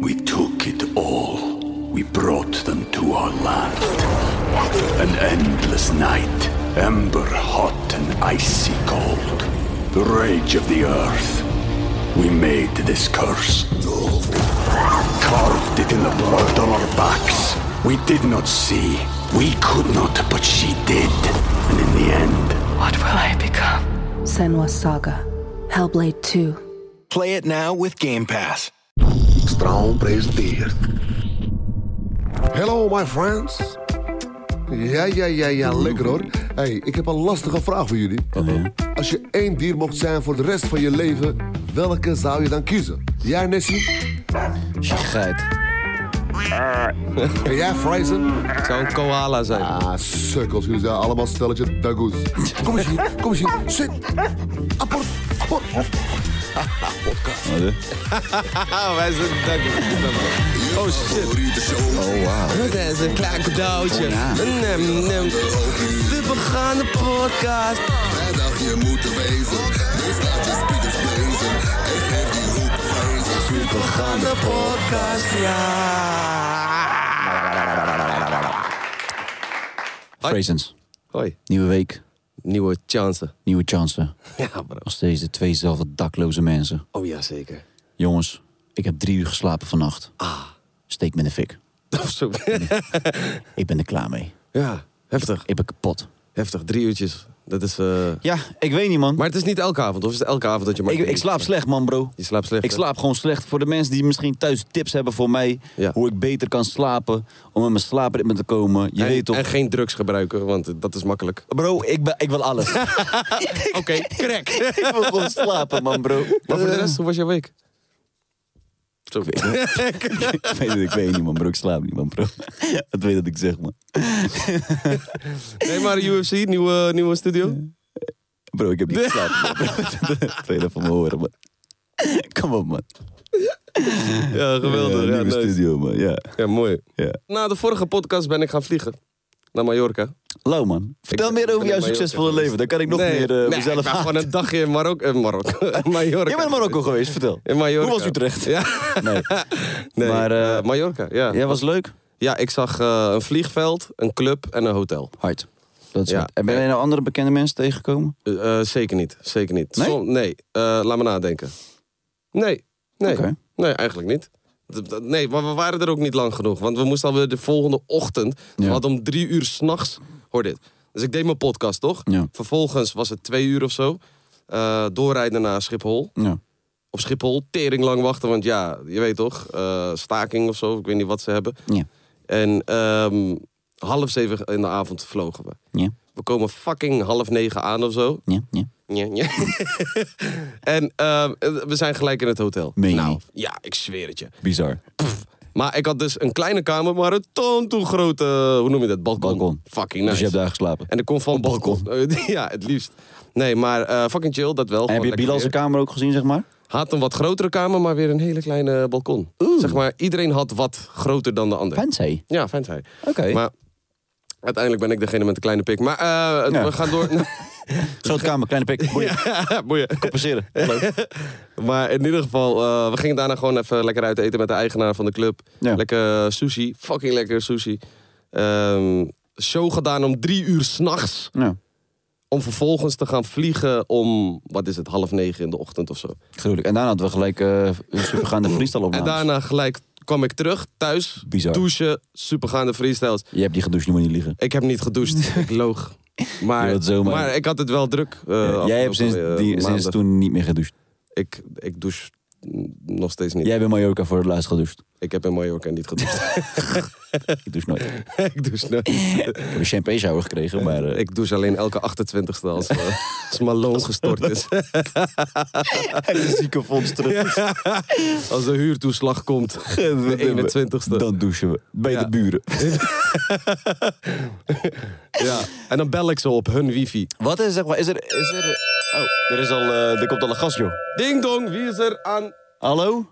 We took it all. We brought them to our land. An endless night, ember hot and icy cold. The rage of the earth. We made this curse. Carved it in the blood on our backs. We did not see. We could not, but she did. And in the end, What will I become? Senwa Saga, Hellblade 2. Play it now with Game Pass. Strong presenteert. Hello my friends. Ja, ja, ja, ja, lekker hoor. hey, ik heb een lastige vraag voor jullie. Uh-huh. Als je één dier mocht zijn voor de rest van je leven, welke zou je dan kiezen? Jij, Nessie? Geit. En jij, Fraser? Het zou een koala zijn. Ah, sukkels, jullie zijn allemaal stelletje dagoes. Kom eens hier, kom eens hier. Zit. Apport. Apport. Ah, wij zijn dankbaar. Oh shit. Oh wow. Dat is een klein cadeautje. Een nem, nem. De begaande podcast. Dus Vrijdag je moet er wezen. Dus laat je speakers blazen. Ik geef die hoek verzen. De begaande podcast, Frazens, Hoi. nieuwe week, Nieuwe chance. nieuwe kansen. Ja bro. Nog steeds de tweezelfde dakloze mensen. Oh ja zeker. Jongens, ik heb drie uur geslapen vannacht. Ah. Steek me in de fik. Of zo. Ik ben er klaar mee. ja, heftig. Ik ben kapot. Heftig, drie uurtjes. Dat is. eh, Ja, ik weet niet, man. Maar het is niet elke avond, of is het elke avond dat je maar. ik, ik slaap slecht, man, bro. Je slaapt slecht. Ik hè? slaap gewoon slecht. Voor de mensen die misschien thuis tips hebben voor mij... Ja. hoe ik beter kan slapen, om in mijn slaapritme te komen. Je en, weet toch... En geen drugs gebruiken, want dat is makkelijk. Bro, ik, ben, ik wil alles. Oké, crack. ik wil gewoon slapen, man, bro. maar voor de Eh, rest, hoe was jouw week? Zo. ik, weet het, ik weet niet, man, bro. Ik slaap niet, man, bro. dat weet dat ik zeg, man. Nee, maar UFC, nieuwe, nieuwe studio. Bro, ik heb niet geslapen. man. Dat wil je van me horen, man. Kom op, man. Ja, geweldig. Ja, Ja, nieuwe nice. studio, man. Ja. ja, mooi. ja. Na de vorige podcast ben ik gaan vliegen. Naar Mallorca. Lauw, man. Vertel Ik- ik meer ben over in jouw Mallorca succesvolle geweest. leven. Dan kan ik nog meer eh, nee, mezelf ik ben gewoon haten. een dagje in Marok eh, Marokko. Mallorca. Je bent in Marokko geweest, vertel. In Mallorca. Hoe was Utrecht? Ja. Nee. Nee, Maar, maar, eh, Mallorca, ja. Jij was leuk? Ja, ik zag eh, een vliegveld, een club en een hotel. Hard. Dat is Ja. hard. En ben jij nou andere bekende mensen tegengekomen? Eh, eh, zeker niet, zeker niet. Nee? nee. eh, laat me nadenken. Nee, nee, Oké. nee, eigenlijk niet. D- d- Nee, maar we waren er ook niet lang genoeg. Want we moesten alweer de volgende ochtend. We Ja. hadden om drie uur s'nachts. Hoor dit. Dus ik deed mijn podcast, toch? Ja. Vervolgens was het twee uur of zo. Eh, doorrijden naar Schiphol. Ja. Op Schiphol tering lang wachten. Want ja, je weet toch, eh, staking of zo. Ik weet niet wat ze hebben. Ja. En ehm, half zeven in de avond vlogen we. Ja. We komen fucking half negen aan of zo. Ja. ja. Ja, ja. en ehm, we zijn gelijk in het hotel. Meen je nou, niet? ja, ik zweer het je. Bizar. Maar ik had dus een kleine kamer, maar een toon toe grote, eh, hoe noem je dat? Balkon. Balkon. Fucking nice. Dus je hebt daar geslapen. En En, er komt van balkon. balkon. ja, het liefst. Nee, maar eh, fucking chill, dat wel. heb Gewoon je lekker Bilal zijn weer. kamer ook gezien, zeg maar? Had een wat grotere kamer, maar weer een hele kleine balkon. Zeg maar, iedereen had wat groter dan de ander. Fancy. Ja, fijn hij. Oké. Maar uiteindelijk ben ik degene met de kleine pik. Maar eh, het- Ja. we gaan door. Grote kamer, kleine pik. Boeien. Boeien. Passeren. Maar in ieder geval, eh, we gingen daarna gewoon even lekker uit eten met de eigenaar van de club. Ja. Lekker eh, sushi, fucking lekker sushi. Ehm, show gedaan om drie uur s'nachts. Ja. Om vervolgens te gaan vliegen om, wat is het, half negen in de ochtend of zo. Gruwelijk. En daarna hadden we gelijk eh supergaande freestyle En opnames. daarna gelijk kwam ik terug, thuis, Bizar. douchen, supergaande freestyles. Je hebt die gedoucht, je moet niet liegen. Ik heb niet gedoucht, ik loog. Je Maar, had zomaar- maar ik had het wel druk. eh, Jij afgelopen, hebt sinds, eh, die, sinds maandag. toen niet meer gedoucht. Ik, ik douche mm, nog steeds niet. Jij bent in Mallorca voor het laatst gedoucht. Ik heb in Mallorca niet gedoucht. Ik douche nooit. Ik ik douche nooit. heb een champagne shower gekregen, maar eh, ik Ik douche alleen elke 28ste als, eh, als mijn loon gestort is. de ziekenfonds terug. Als de huurtoeslag komt. De 21ste. Dan douchen we. Bij Ja. de buren. Ja. En dan bel ik ze op hun wifi. Wat is, zeg maar, is er... Is er oh, er, is al, eh, er komt al een gast, joh. Ding dong, wie is er aan? Hallo?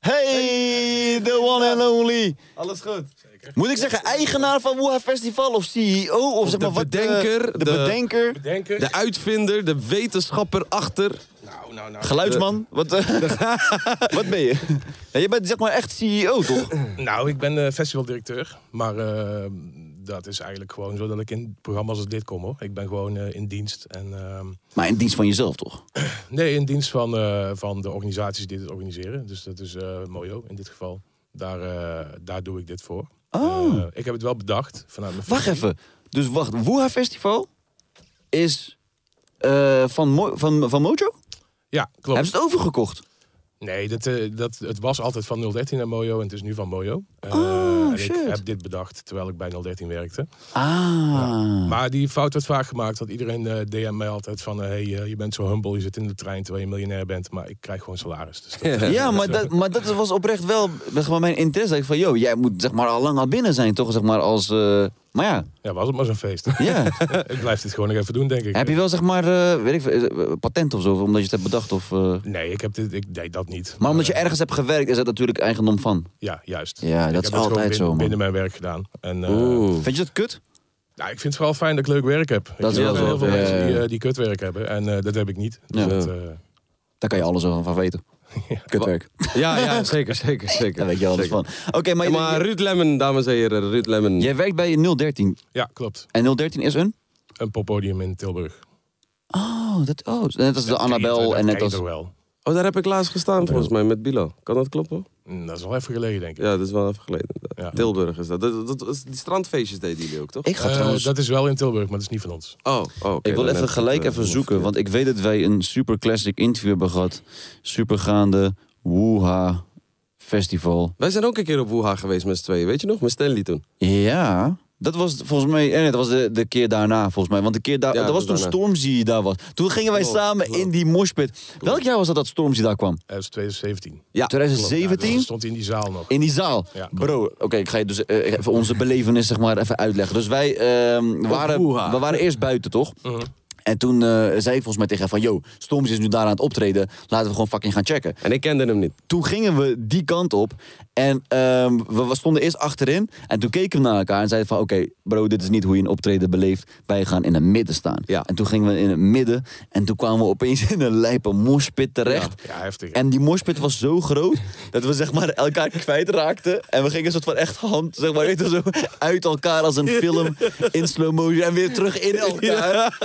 Hey, the one and only. Alles goed. Zeker. Moet ik zeggen eigenaar van Wuha Festival of CEO? Of zeg de maar, wat, eh, bedenker, de, de- bedenker. De uitvinder, de wetenschapper achter. nou. Geluidsman. wat, eh, wat ben je? Ja, je bent zeg maar echt CEO, toch? Nou, ik ben eh, festivaldirecteur. Maar eh, dat is eigenlijk gewoon zo dat ik in programma's als dit kom hoor. Ik ben gewoon eh, in dienst. En, ehm, maar in dienst van jezelf, toch? nee, in dienst van, eh, van de organisaties die dit organiseren. Dus dat is eh Mojo in dit geval. Daar, eh, daar doe ik dit voor. Eh, ik heb het wel bedacht vanuit mijn Oh. Wacht functie. even. Dus wacht, Wuha Festival is eh, van, Mo- van, van Mojo? Ja, klopt. Hebben ze het overgekocht? Nee, dat, eh, dat, het was altijd van 013 naar Mojo en het is nu van Mojo. Eh, en Oh, shit. ik heb dit bedacht terwijl ik bij 013 werkte. Ah. Maar die fout werd vaak gemaakt. Want iedereen eh DM mij altijd van... eh, hey, eh, je bent zo humble, je zit in de trein terwijl je miljonair bent. Maar ik krijg gewoon salaris. Dus dat- Ja, maar dat, maar dat was oprecht wel zeg maar, mijn interesse. Ik van, joh, jij moet zeg maar, al lang al binnen zijn, toch? Zeg maar, als, eh, maar ja, ja, was het maar zo'n feest. ja. ik blijf dit gewoon nog even doen, denk ik. heb je wel zeg maar, eh, weet ik, veel, eh, patent of zo, omdat je het hebt bedacht? Of, eh, Nee, ik, heb dit, ik deed dat niet. Maar omdat je eh, ergens hebt gewerkt, is dat natuurlijk eigendom van. Ja, juist. Ja, Ik dat heb is het gewoon altijd binnen, zo, man. binnen mijn werk gedaan. En, eh, Vind je dat kut? nou, ik vind het vooral fijn dat ik leuk werk heb. Dat is Ik wel ken zo, Heel veel ja, mensen die, ja. eh, die kutwerk hebben. En eh, dat heb ik niet. Dus Ja. dat, eh, Daar kan je alles wel van weten. Kutwerk. Ja, ja, zeker, zeker, zeker. Daar weet je alles Zeker. van. Oké, maar, Ja, je- maar Ruud Lemmen, dames en heren, Ruud Lemmen. jij werkt bij 013. ja, klopt. En 013 is een? Een poppodium in Tilburg. Oh, dat, oh net als de Kate, Annabel dat en net Kate als... er wel. Oh, daar heb ik laatst gestaan volgens mij met Bilo. Kan dat kloppen? Mm, Dat is al even geleden, denk ik. Ja, dat is wel even geleden. Ja. Tilburg is dat. dat, dat, dat- die strandfeestjes deden jullie ook, toch? Ik ga Eh, trouwens... dat is wel in Tilburg, maar dat is niet van ons. Eh, Oh, oh oké, Ik wil dan even heb gelijk het, eh, even zoeken, helemaal want ik weet dat wij een super classic interview hebben gehad. Supergaande Woeha Festival. Wij zijn ook een keer op Woeha geweest met z'n tweeën, weet je nog? Met Stanley toen. Ja, dat was volgens mij, en dat was de, de keer daarna volgens mij. Want de keer daar, Ja, dat was toen dat was daarna. Stormzy daar was. Toen gingen wij Klopt, samen klopt. in die moshpit. Welk jaar was dat dat Stormzy daar kwam? Dat is 2017. Ja, Ja, dus 2017? dan stond hij in die zaal nog. In die zaal. Ja. Bro, oké, ik ga je dus eh, even onze belevenis zeg maar even uitleggen. Dus wij ehm, waren, Woeha. we waren eerst buiten, toch? Mhm. En toen eh, zei ik volgens mij tegen hem van... Yo, Storms is nu daar aan het optreden. Laten we gewoon fucking gaan checken. En ik kende hem niet. Toen gingen we die kant op. En ehm, we, we stonden eerst achterin. En toen keken we naar elkaar en zeiden van... Oké, bro, dit is niet hoe je een optreden beleeft. Wij gaan in het midden staan. Ja. En toen gingen we in het midden. En toen kwamen we opeens in een lijpe moshpit terecht. Ja, ja, heftig, hè? En die moshpit was zo groot dat we zeg maar elkaar kwijtraakten. En we gingen een soort van echt hand, zeg maar, weet je, zo uit elkaar als een film in slow motion en weer terug in elkaar.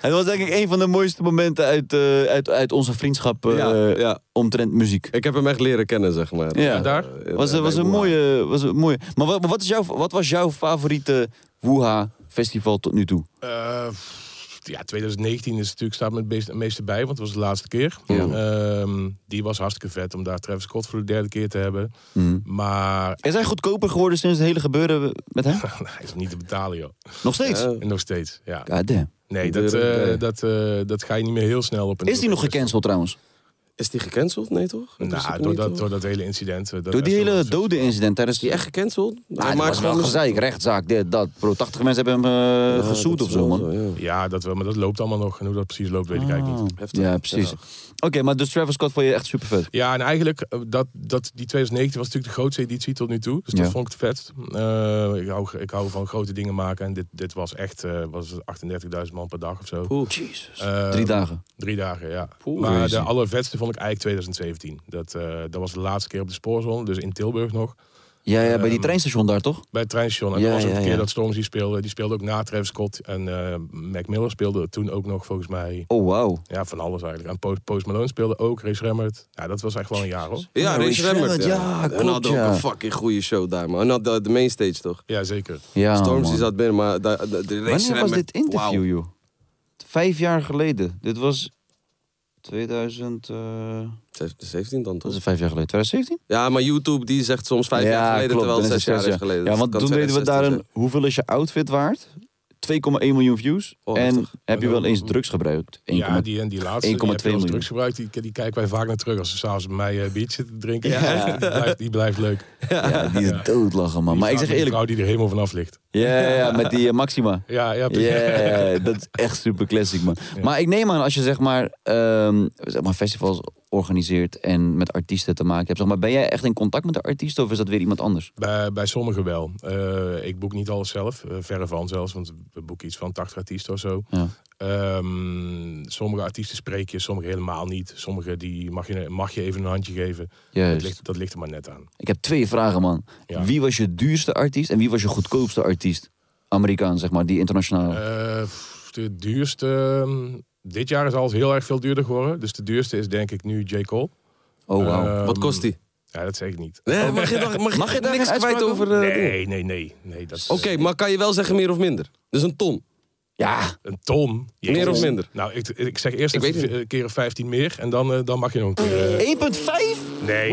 En dat was denk ik een van de mooiste momenten uit, eh, uit, uit onze vriendschap eh, Ja, ja. omtrent muziek. Ik heb hem echt leren kennen, zeg maar. Ja. Eh, daar? eh, Was, bij was, een Woeha. mooie, was een mooie. Maar wat, maar wat, is jouw, wat was jouw favoriete Wuha festival tot nu toe? Eh, pff, ja, 2019 is natuurlijk staat me het meest- het meeste bij, want dat was de laatste keer. Ehm, die was hartstikke vet om daar Travis Scott voor de derde keer te hebben. Mhm. Maar Is hij goedkoper geworden sinds het hele gebeuren met hem? hij is niet te betalen, joh. Nog steeds? Ja. En nog steeds, ja. God damn. Nee, dat, eh, Nee. dat, eh, dat ga je niet meer heel snel op. een Is die nog doelpunt. gecanceld trouwens? Is die gecanceld? Nee, toch? In principe Nou, niet, door dat, toch? door dat hele incident. eh, Dat Door die Aston hele was- dode incident tijdens Is die echt gecanceld? Ah, dat maakt was wel gewoon- gezeik, rechtszaak, dit, dat. Bro, 80 mensen hebben hem eh Ja, gezoet dat of is zo, wel man. ja. Ja, dat wel, maar dat loopt allemaal nog. En hoe dat precies loopt, weet ik eigenlijk niet. Heftig. Ja, precies. Ja. Oké, maar dus Travis Scott vond je echt super vet. Ja, en eigenlijk, eh, dat, dat, die 2019 was natuurlijk de grootste editie tot nu toe. Dus dat Ja. vond ik het vet. Eh, ik, hou, ik hou van grote dingen maken. En dit, dit was echt eh, was 38.000 man per dag of zo. Jezus. Eh, Drie dagen. Drie dagen, ja. Poeh. maar Crazy. de allervetste vond ik eigenlijk 2017. Dat, eh, dat was de laatste keer op de spoorzone, dus in Tilburg nog. Ja, ja, bij die treinstation daar, toch? Bij het treinstation. En Ja, dat was ook ja, de keer ja. dat Stormzy speelde. Die speelde ook na Travis Scott. En eh Mac Miller speelde toen ook nog, volgens mij... Oh, wauw. Ja, van alles eigenlijk. En Post, Post Malone speelde ook, Race Remmert. Ja, dat was echt wel een jaar, hoor. Ja, Ja, Rich Ray Remmert. Shremmert, ja, en klopt, had ook ja. een fucking goede show daar, man. En had de, de mainstage, toch? Ja, zeker. Ja, Stormzy man. zat binnen, maar de, de, de Ray Wanneer was Shremmert, dit interview, wauw. joh? Vijf jaar geleden. Dit was 2000... eh, 2017 dan dat toch? is vijf jaar geleden. 2017? Ja, maar YouTube die zegt soms vijf jaar geleden, klopt, terwijl dan het is zes jaar is geleden. Ja, Dus want het toen kan deden we daar 2016 een... Hoeveel is je outfit waard? 2,1 miljoen views. Oh, en heftig. heb je wel eens drugs gebruikt? 1,2 Ja, die en die laatste. 1,2 1,2 miljoen. miljoen. drugs gebruikt, die, die kijken wij vaak naar terug als ze s'avonds bij mij eh biertje zitten te drinken. Die, blijft, die blijft leuk. Ja, die is doodlachen, man. Die Maar vrouw- ik zeg die eerlijk... vrouw die er helemaal vanaf ligt. Ja, ja, ja, met die eh, Maxima. Ja, ja, Ja, precies. dat is echt super classic, man. Maar ik neem aan, als je zeg maar, ehm, zeg maar festivals organiseert en met artiesten te maken hebt, zeg maar, ben jij echt in contact met de artiest of is dat weer iemand anders? Bij, bij sommigen wel. Eh, ik boek niet alles zelf, eh, verre van zelfs, want we boeken iets van 80 artiesten of zo. Ja. Ehm, sommige artiesten spreek je, sommige helemaal niet. Sommige die mag, je, mag je even een handje geven. Dat Juist. ligt, dat ligt er maar net aan. Ik heb twee vragen, man. Ja. Wie was je duurste artiest en wie was je goedkoopste artiest? Amerikaan, zeg maar, die internationaal. Eh, pff, de duurste. ehm, Dit jaar is alles heel erg veel duurder geworden. Dus de duurste is denk ik nu J. Cole. oh, wow. Ehm, oh, Wat kost die? Ja, dat zeg ik niet. Nee, mag je, daar- mag je je daar niks geen kwijt uitspraak over... eh, dingen? Nee, nee, nee. nee dat is, Oké, maar kan je wel zeggen meer of minder? Dus een ton. ja, Een ton. Meer Jezus. of minder? Nou, ik, ik zeg eerst Ik even weet het v- een keer of 15 meer. En dan, eh, dan mag je nog een keer... eh, 1,5? nee.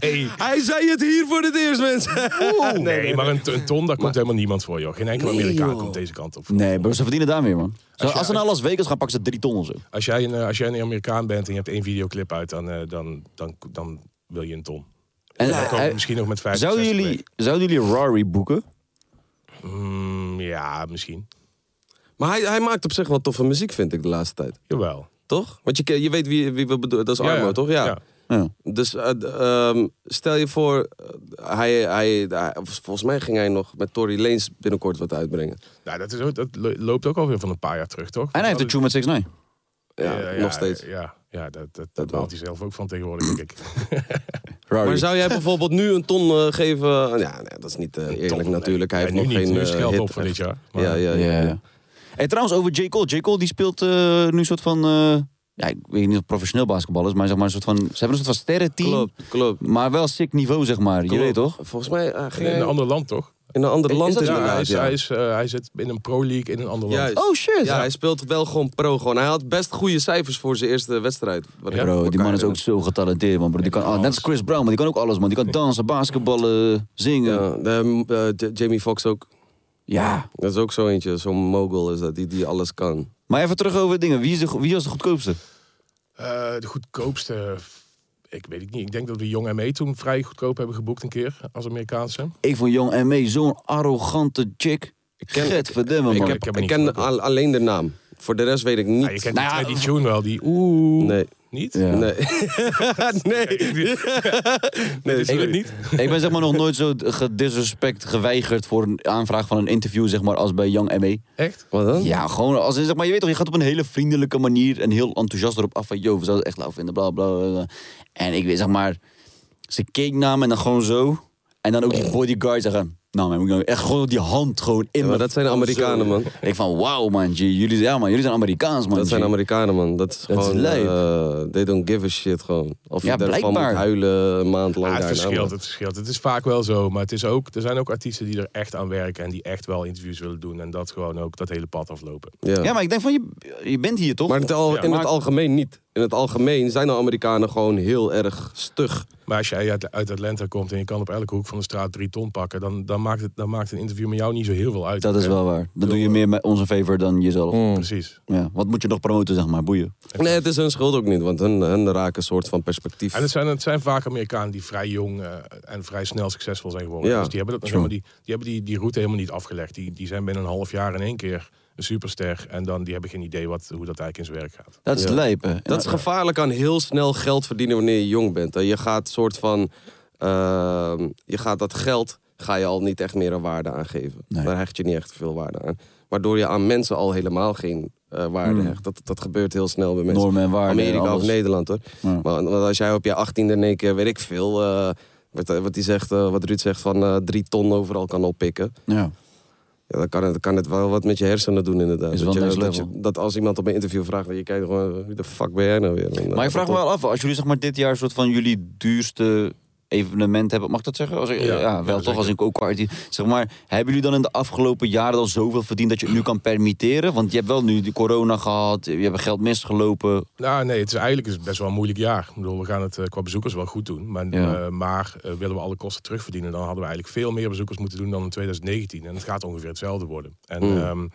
nee. Hij zei het hier voor het eerst, mensen. Nee, maar een, een ton, daar komt helemaal niemand voor, joh. Geen enkele Nee, Amerikaan joh. komt deze kant op. Nee, bro, ze verdienen daar meer, man. Zo, als, ze naar Las Vegas gaan, pakken ze drie ton of zo. Als jij, een, eh, als jij een Amerikaan bent en je hebt één videoclip uit, dan, eh, dan, dan, dan wil je een ton. En, dan komen eh, we misschien nog met 50, zouden, 60 jullie, zouden jullie Rari boeken? Mm, Ja, misschien. Maar hij, hij maakt op zich wel toffe muziek, vind ik, de laatste tijd. Jawel. Toch? Want je, ken- je weet wie, wie we bedoelen. Dat is Armo, toch? Ja. Ja. Dus eh, d- ehm, stel je voor, eh, hij, hij, hij- volgens mij ging hij nog met Tory Lanez binnenkort wat uitbrengen. Nou, dat, is ook, dat lo- loopt ook alweer van een paar jaar terug, toch? En hij heeft Ah, de tune met 6 9 Ja, Ja, nog ja, steeds. Ja, ja dat, dat, dat baalt hij zelf ook van tegenwoordig, denk ik. Maar zou jij bijvoorbeeld nu een ton eh, geven? Ja, nee, dat is niet eh, eerlijk Top, natuurlijk. nee. Hij Ja, heeft nu nog niet. geen Nu is het eh, geld hit op voor echt. dit jaar. Maar- Ja, ja, ja. Ja. ja. Hey, trouwens, over J. Cole. J. Cole die speelt eh, nu een soort van. eh, ja, ik weet niet of het professioneel basketbal is, maar, zeg maar een soort van, ze hebben een soort van sterrenteam. Klopt, klopt. Maar wel sick niveau, zeg maar. Je weet toch? Volgens mij eh, ging In een hij ander land, toch? in een ander Is land dat is zo? Ja, hij, inderdaad. is, Ja, hij, is, eh, hij zit in een pro-league in een ander land. Juist. Oh shit. Ja, hij speelt wel gewoon pro. Gewoon. Hij had best goede cijfers voor zijn eerste wedstrijd. Wat ik Bro, Oh, die man is elkaar- ook zo getalenteerd, man. Bro. Die kan, ah, net als Chris Brown, maar die kan ook alles, man. Die kan dansen, basketballen, zingen. Ja. Ja, de, eh, J- Jamie Foxx ook. Dat is ook zo eentje. Zo'n mogul is dat, die, die alles kan. Oh, Maar even terug over dingen. Wie, is de, go- wie was de goedkoopste? Eh, de goedkoopste, ik weet het niet. Ik denk dat we Jong M.E. toen vrij goedkoop hebben geboekt een keer als Amerikaanse. Ik vond Young M.A. zo'n arrogante chick. ken- Getverdamme, man. ik, ik heb, heb ik, hem niet ken gehoord. al- alleen de naam. Voor de rest weet ik niet. Ja, je kent Nou ja, die, die tune wel, die oeh. nou, Nee. Niet? Ja. Nee. nee. Nee, dit is Ik- het niet. Ik ben zeg maar nog nooit zo gedisrespect geweigerd voor een aanvraag van een interview, zeg maar, als bij Young M.A. Echt? Wat dan? Ja, gewoon als in, zeg maar, je weet toch, je gaat op een hele vriendelijke manier en heel enthousiast erop af van, yo, we zouden het echt lauw vinden, bla, bla, bla, bla. En ik weet, zeg maar, ze keek naar me en dan gewoon zo. En dan ook die bodyguard zeggen, nou, man, moet ik nou echt gewoon die hand gewoon in maar me. dat zijn de Amerikanen, man. Ik van, wauw, man, G, jullie, ja, man, jullie zijn Amerikaans, man. Dat zijn G. Amerikanen, man. Dat is Dat is gewoon... lijp. eh, they don't give a shit, gewoon. Of Ja, je daarvan moet blijkbaar. huilen een maand lang Ja, het daarna, verschilt, man. het verschilt. Het is vaak wel zo, maar het is ook, er zijn ook artiesten die er echt aan werken en die echt wel interviews willen doen en dat gewoon ook dat hele pad aflopen. Ja. Ja, maar ik denk van, je, je bent hier toch? Maar in het, al- Ja, in maar- het algemeen niet. In het algemeen zijn de Amerikanen gewoon heel erg stug. Maar als jij uit, uit Atlanta komt en je kan op elke hoek van de straat drie ton pakken, dan, dan, maakt, het, dan maakt een interview met jou niet zo heel veel uit. Dat is hè? wel waar. Dat doe je meer met onze favor dan jezelf. Precies. Ja, wat moet je nog promoten, zeg maar, boeien. Nee, het is hun schuld ook niet, want hun, hun raken een soort van perspectief. En het zijn, het zijn vaak Amerikanen die vrij jong eh, en vrij snel succesvol zijn geworden. Ja, dus die hebben, dat nog helemaal, die, die, hebben die, die route helemaal niet afgelegd. Die, die zijn binnen een half jaar in één keer een superster. En dan die hebben geen idee wat, hoe dat eigenlijk in zijn werk gaat. Dat is lijpen. Dat is gevaarlijk aan heel snel geld verdienen wanneer je jong bent. hè. Je gaat soort van, ehm, je gaat dat geld ga je al niet echt meer een waarde aan geven. Daar hecht je niet echt veel waarde aan. Waardoor je aan mensen al helemaal geen eh, waarde hecht. Dat, dat gebeurt heel snel bij mensen. Normen en waarden en Amerika of Hmm. alles. Nederland hoor. Ja. Maar, want als jij op je achttiende in één keer, weet ik veel, eh, wat, wat, die zegt, eh, wat Ruud zegt van eh, drie ton overal kan oppikken. Ja. Ja, dan kan het, kan het wel wat met je hersenen doen inderdaad. Is wel dat, je, next dat, level. je- dat als iemand op een interview vraagt, je kijkt gewoon, wie de fuck ben jij nou weer? En, eh, Maar ik dat vraag me dat- wel af, als jullie zeg maar dit jaar soort van jullie duurste evenement hebben. Mag ik dat zeggen? Als, ik- ja, Ja, ja, wel toch zeker. als een co-party. Zeg maar, hebben jullie dan in de afgelopen jaren al zoveel verdiend dat je het nu kan permitteren? Want je hebt wel nu die corona gehad, je hebt geld misgelopen. Nou, nee, het is eigenlijk is het best wel een moeilijk jaar. Ik bedoel, we gaan het eh, qua bezoekers wel goed doen. Maar, Ja. eh, maar eh, willen we alle kosten terugverdienen, dan hadden we eigenlijk veel meer bezoekers moeten doen dan in 2019. En het gaat ongeveer hetzelfde worden. En ehm,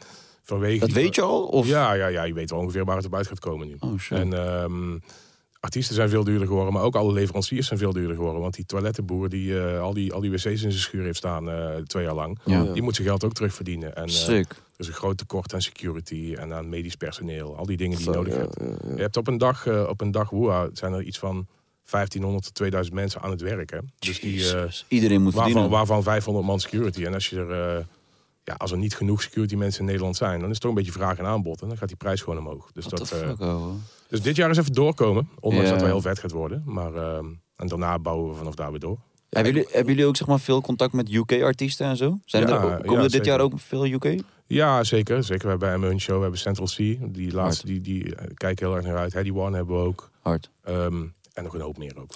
vanwege. Hmm. Dat die- weet je al? Of? Ja, ja, ja, je weet wel ongeveer waar het op uit gaat komen nu. Oh, shit. en ehm, artiesten zijn veel duurder geworden, maar ook alle leveranciers zijn veel duurder geworden. Want die toilettenboer die eh, al, die, al die wc's in zijn schuur heeft staan eh, twee jaar lang, Ja. die moet zijn geld ook terugverdienen. En, eh, Sick. er is een groot tekort aan security en aan medisch personeel. Al die dingen die je nodig hebt. Je hebt op een dag, eh, op een dag woeha, zijn er iets van 1500 tot 2000 mensen aan het werken. Dus die, eh, Jezus. Iedereen moet waarvan, verdienen. waarvan 500 man security. En als, je er, eh, ja, als er niet genoeg security mensen in Nederland zijn, dan is het toch een beetje vraag en aanbod. En dan gaat die prijs gewoon omhoog. Dus, dat, What the eh, fuck, ouwe? dus dit jaar is even doorkomen. Ondanks dat Ja. het wel heel vet gaat worden. Maar, eh, en daarna bouwen we vanaf daar weer door. Hebben jullie, hebben jullie ook zeg maar, veel contact met UK-artiesten en zo? Zijn Ja, er, ook- komen ja, er dit zeker. jaar ook veel UK? Ja, zeker. zeker. We hebben M hun show, we hebben Central C. Die laatste, die, die eh, kijken heel erg naar uit. Heady One hebben we ook. Hard. Ehm, en nog een hoop meer ook.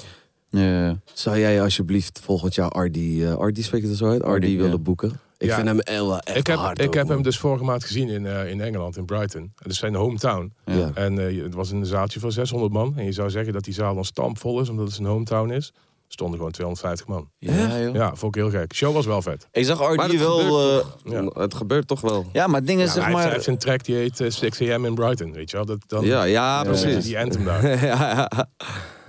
Ja. Zou jij alspreekt volgend jaar Ardi, eh, Ardi spreekt het zo uit, Ardi Ardi, willen ja. boeken? Ik Ja. vind hem heel wel echt Ik heb, hard ik ook, heb hem man. dus vorige maand gezien in, eh, in Engeland, in Brighton. Het is zijn hometown. Ja. En eh, je- het was een zaaltje van 600 man. En je zou zeggen dat die zaal dan stampvol is, omdat het zijn hometown is. stonden gewoon 250 man. Ja, joh. Ja, vond ik heel gek. Show was wel vet. Ik zag Maar dat Ardi wel... gebeurt eh, ja. Het gebeurt toch wel. ja, maar het ding is Ja, zeg hij, heeft, hij maar... heeft een track die heet eh, 6 AM in Brighton, weet je wel. Dat, dan, Ja, ja, dan zit je precies. Die anthem daar. Ja, ja.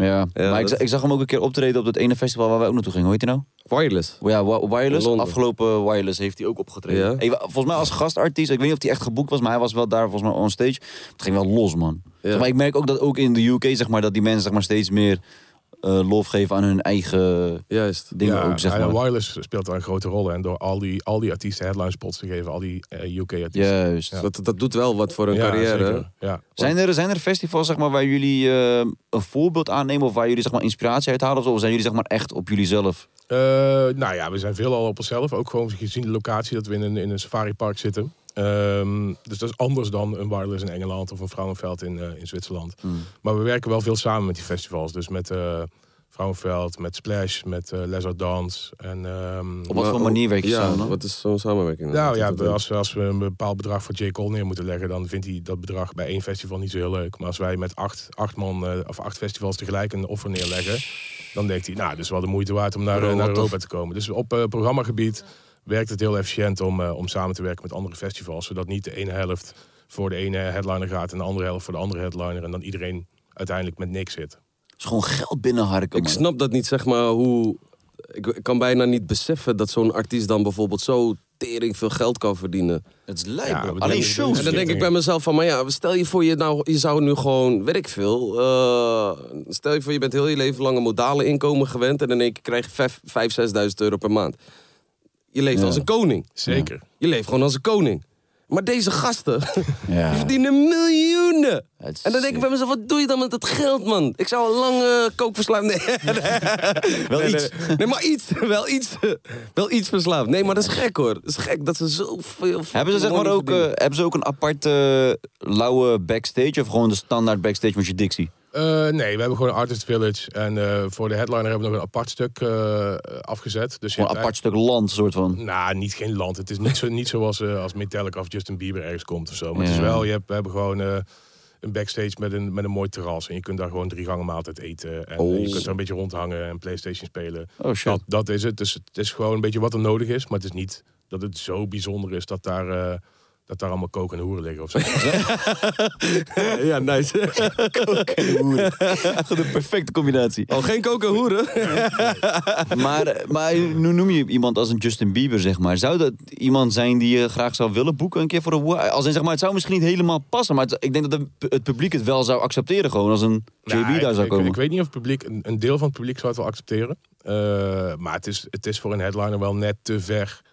Ja, Ja, maar dat- ik, za- ik zag hem ook een keer optreden op dat ene festival waar wij ook naartoe gingen. Hoe heet hij nou? Wireless. Ja, Wi- Wireless. In Londen. Afgelopen Wireless heeft hij ook opgetreden. Ja. Ik wa- volgens mij als gastartiest. Ik weet niet of hij echt geboekt was, maar hij was wel daar volgens mij on stage. Het ging wel los, man. Zeg maar ik merk ook dat ook in de UK, zeg maar, dat die mensen zeg maar, steeds meer eh lof geven aan hun eigen Juist. dingen ja, ook, zeg en maar. Wireless speelt daar een grote rol. En door al die, al die artiesten headline spots te geven, al die eh, UK-artiesten. Juist. Dat, dat doet wel wat voor een carrière. zeker. Ja. Zijn er, zijn er festivals zeg maar, waar jullie eh, een voorbeeld aannemen of waar jullie zeg maar, inspiratie uit halen? Of, zo? of zijn jullie zeg maar, echt op jullie zelf? Eh, nou ja, we zijn veelal op onszelf. Ook gewoon gezien de locatie dat we in een, in een safaripark zitten. Ehm, dus dat is anders dan een wireless in Engeland of een Frauenveld in, eh, in Zwitserland. Maar we werken wel veel samen met die festivals. Dus met eh Frauenveld, met Splash, met eh Les Arts Dans. En, ehm, Op wat voor manier werk je ja, samen? Wat is zo'n samenwerking? dan? nou ja, Dat- dat- als, als we een bepaald bedrag voor J. Cole neer moeten leggen, dan vindt hij dat bedrag bij één festival niet zo heel leuk. Maar als wij met acht, acht man eh, of acht festivals tegelijk een offer neerleggen, dan denkt hij, nou, dat is wel de moeite waard om naar, eh, naar Europa te komen. Dus op eh, programmagebied werkt het heel efficiënt om, eh, om samen te werken met andere festivals, zodat niet de ene helft voor de ene headliner gaat en de andere helft voor de andere headliner en dan iedereen uiteindelijk met niks zit. Het is gewoon geld binnenharken, Ik man. snap dat niet, zeg maar, hoe... Ik, ik kan bijna niet beseffen dat zo'n artiest dan bijvoorbeeld zo tering veel geld kan verdienen. Het is lijp, Ja, bro. we Alleen doen- shows. En dan denk ik Schitterend. bij mezelf van, maar ja, stel je voor je nou, je zou nu gewoon, weet ik veel, eh, stel je voor je bent heel je leven lang een modale inkomen gewend en in één keer krijg je vijf- vijf, zesduizend euro per maand. Je leeft als een koning. Zeker. Je leeft gewoon als een koning. Maar deze gasten, Ja. die verdienen miljoenen. Het is En dan denk ik bij mezelf, wat doe je dan met dat geld, man? Ik zou een lange kook verslaan. Nee, Wel nee, iets. Nee, nee, maar iets. Wel iets. Wel iets verslaafd. Nee, maar dat is gek hoor. Dat is gek dat ze zoveel. Hebben ze, zeg maar money ook, eh, verdienen. hebben ze ook een aparte lauwe backstage? Of gewoon de standaard backstage met je Dixie? Eh, nee, we hebben gewoon een Artist Village. En eh, voor de headliner hebben we nog een apart stuk eh, afgezet. Dus je Gewoon een hebt apart stuk land, soort van. Nou, niet geen land. Het is niet, zo, niet zoals eh, als Metallica of Justin Bieber ergens komt of zo. Maar het Ja. is wel, je hebt, we hebben gewoon eh, een backstage met een, met een mooi terras. En je kunt daar gewoon drie gangen maaltijd eten. En eh, je kunt daar een beetje rondhangen en Playstation spelen. Oh, shit. Dat, dat is het. Dus het is gewoon een beetje wat er nodig is. Maar het is niet dat het zo bijzonder is dat daar... eh, dat daar allemaal koken en hoeren liggen of zo. Ja, nice. de perfecte combinatie. Oh, geen koken hoeren. Maar, eh, maar nu noem je iemand als een Justin Bieber, zeg maar. Zou dat iemand zijn die je graag zou willen boeken een keer voor een wo- Als in, zeg maar, het zou misschien niet helemaal passen. Maar het- ik denk dat het- het publiek het wel zou accepteren. Gewoon als een JB Nou, ik- daar zou ik, komen. Ik, weet niet of het publiek, een, een deel van het publiek zou het wel accepteren. Eh, maar het is, het is voor een headliner wel net te ver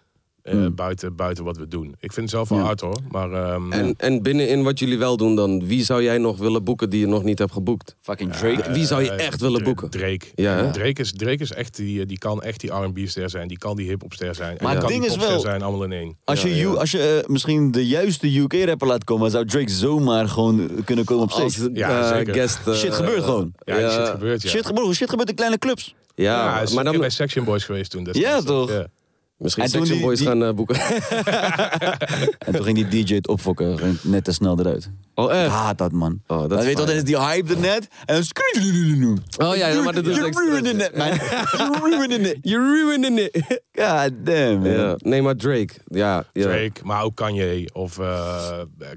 eh, Hmm. buiten, buiten wat we doen. Ik vind het zelf wel hard hoor. Maar, ehm, En, en binnenin wat jullie wel doen dan, wie zou jij nog willen boeken die je nog niet hebt geboekt? Fucking Drake. Wie zou je eh, echt willen Dra- boeken? Drake. Ja, hè? Drake, is, Drake is echt die, die kan echt die R&B-ster zijn. Die kan die hip-hopster zijn. Maar en het die kan ding is die popster wel- zijn, allemaal in één. Als je, U- als je eh, misschien de juiste UK-rapper laat komen, zou Drake zomaar gewoon eh, kunnen komen op stage. Als, Ja, eh, zeker. guest, eh, Shit gebeurt gewoon. Ja, die shit gebeurt, ja. Shit gebeurt, shit gebeurt in kleine clubs. Ja, Ja, hij is maar een keer dan... bij Section Boys geweest toen. Ja, destijds. toch? Ja. Misschien En toen Section die- Boys die- gaan eh, boeken. En toen ging die DJ het opfokken. Ging net te snel eruit. Oh, echt? Ik haat dat, man. Oh, dat Dan is weet je wel, fijn. dan is die hype er net. En dan... Oh ja, ja, maar dat doet You're extra. ruining it, man. You're ruining it. You're ruining it. God damn, man. Ja, nee, maar Drake. Ja, ja. Drake, maar ook Kanye of eh,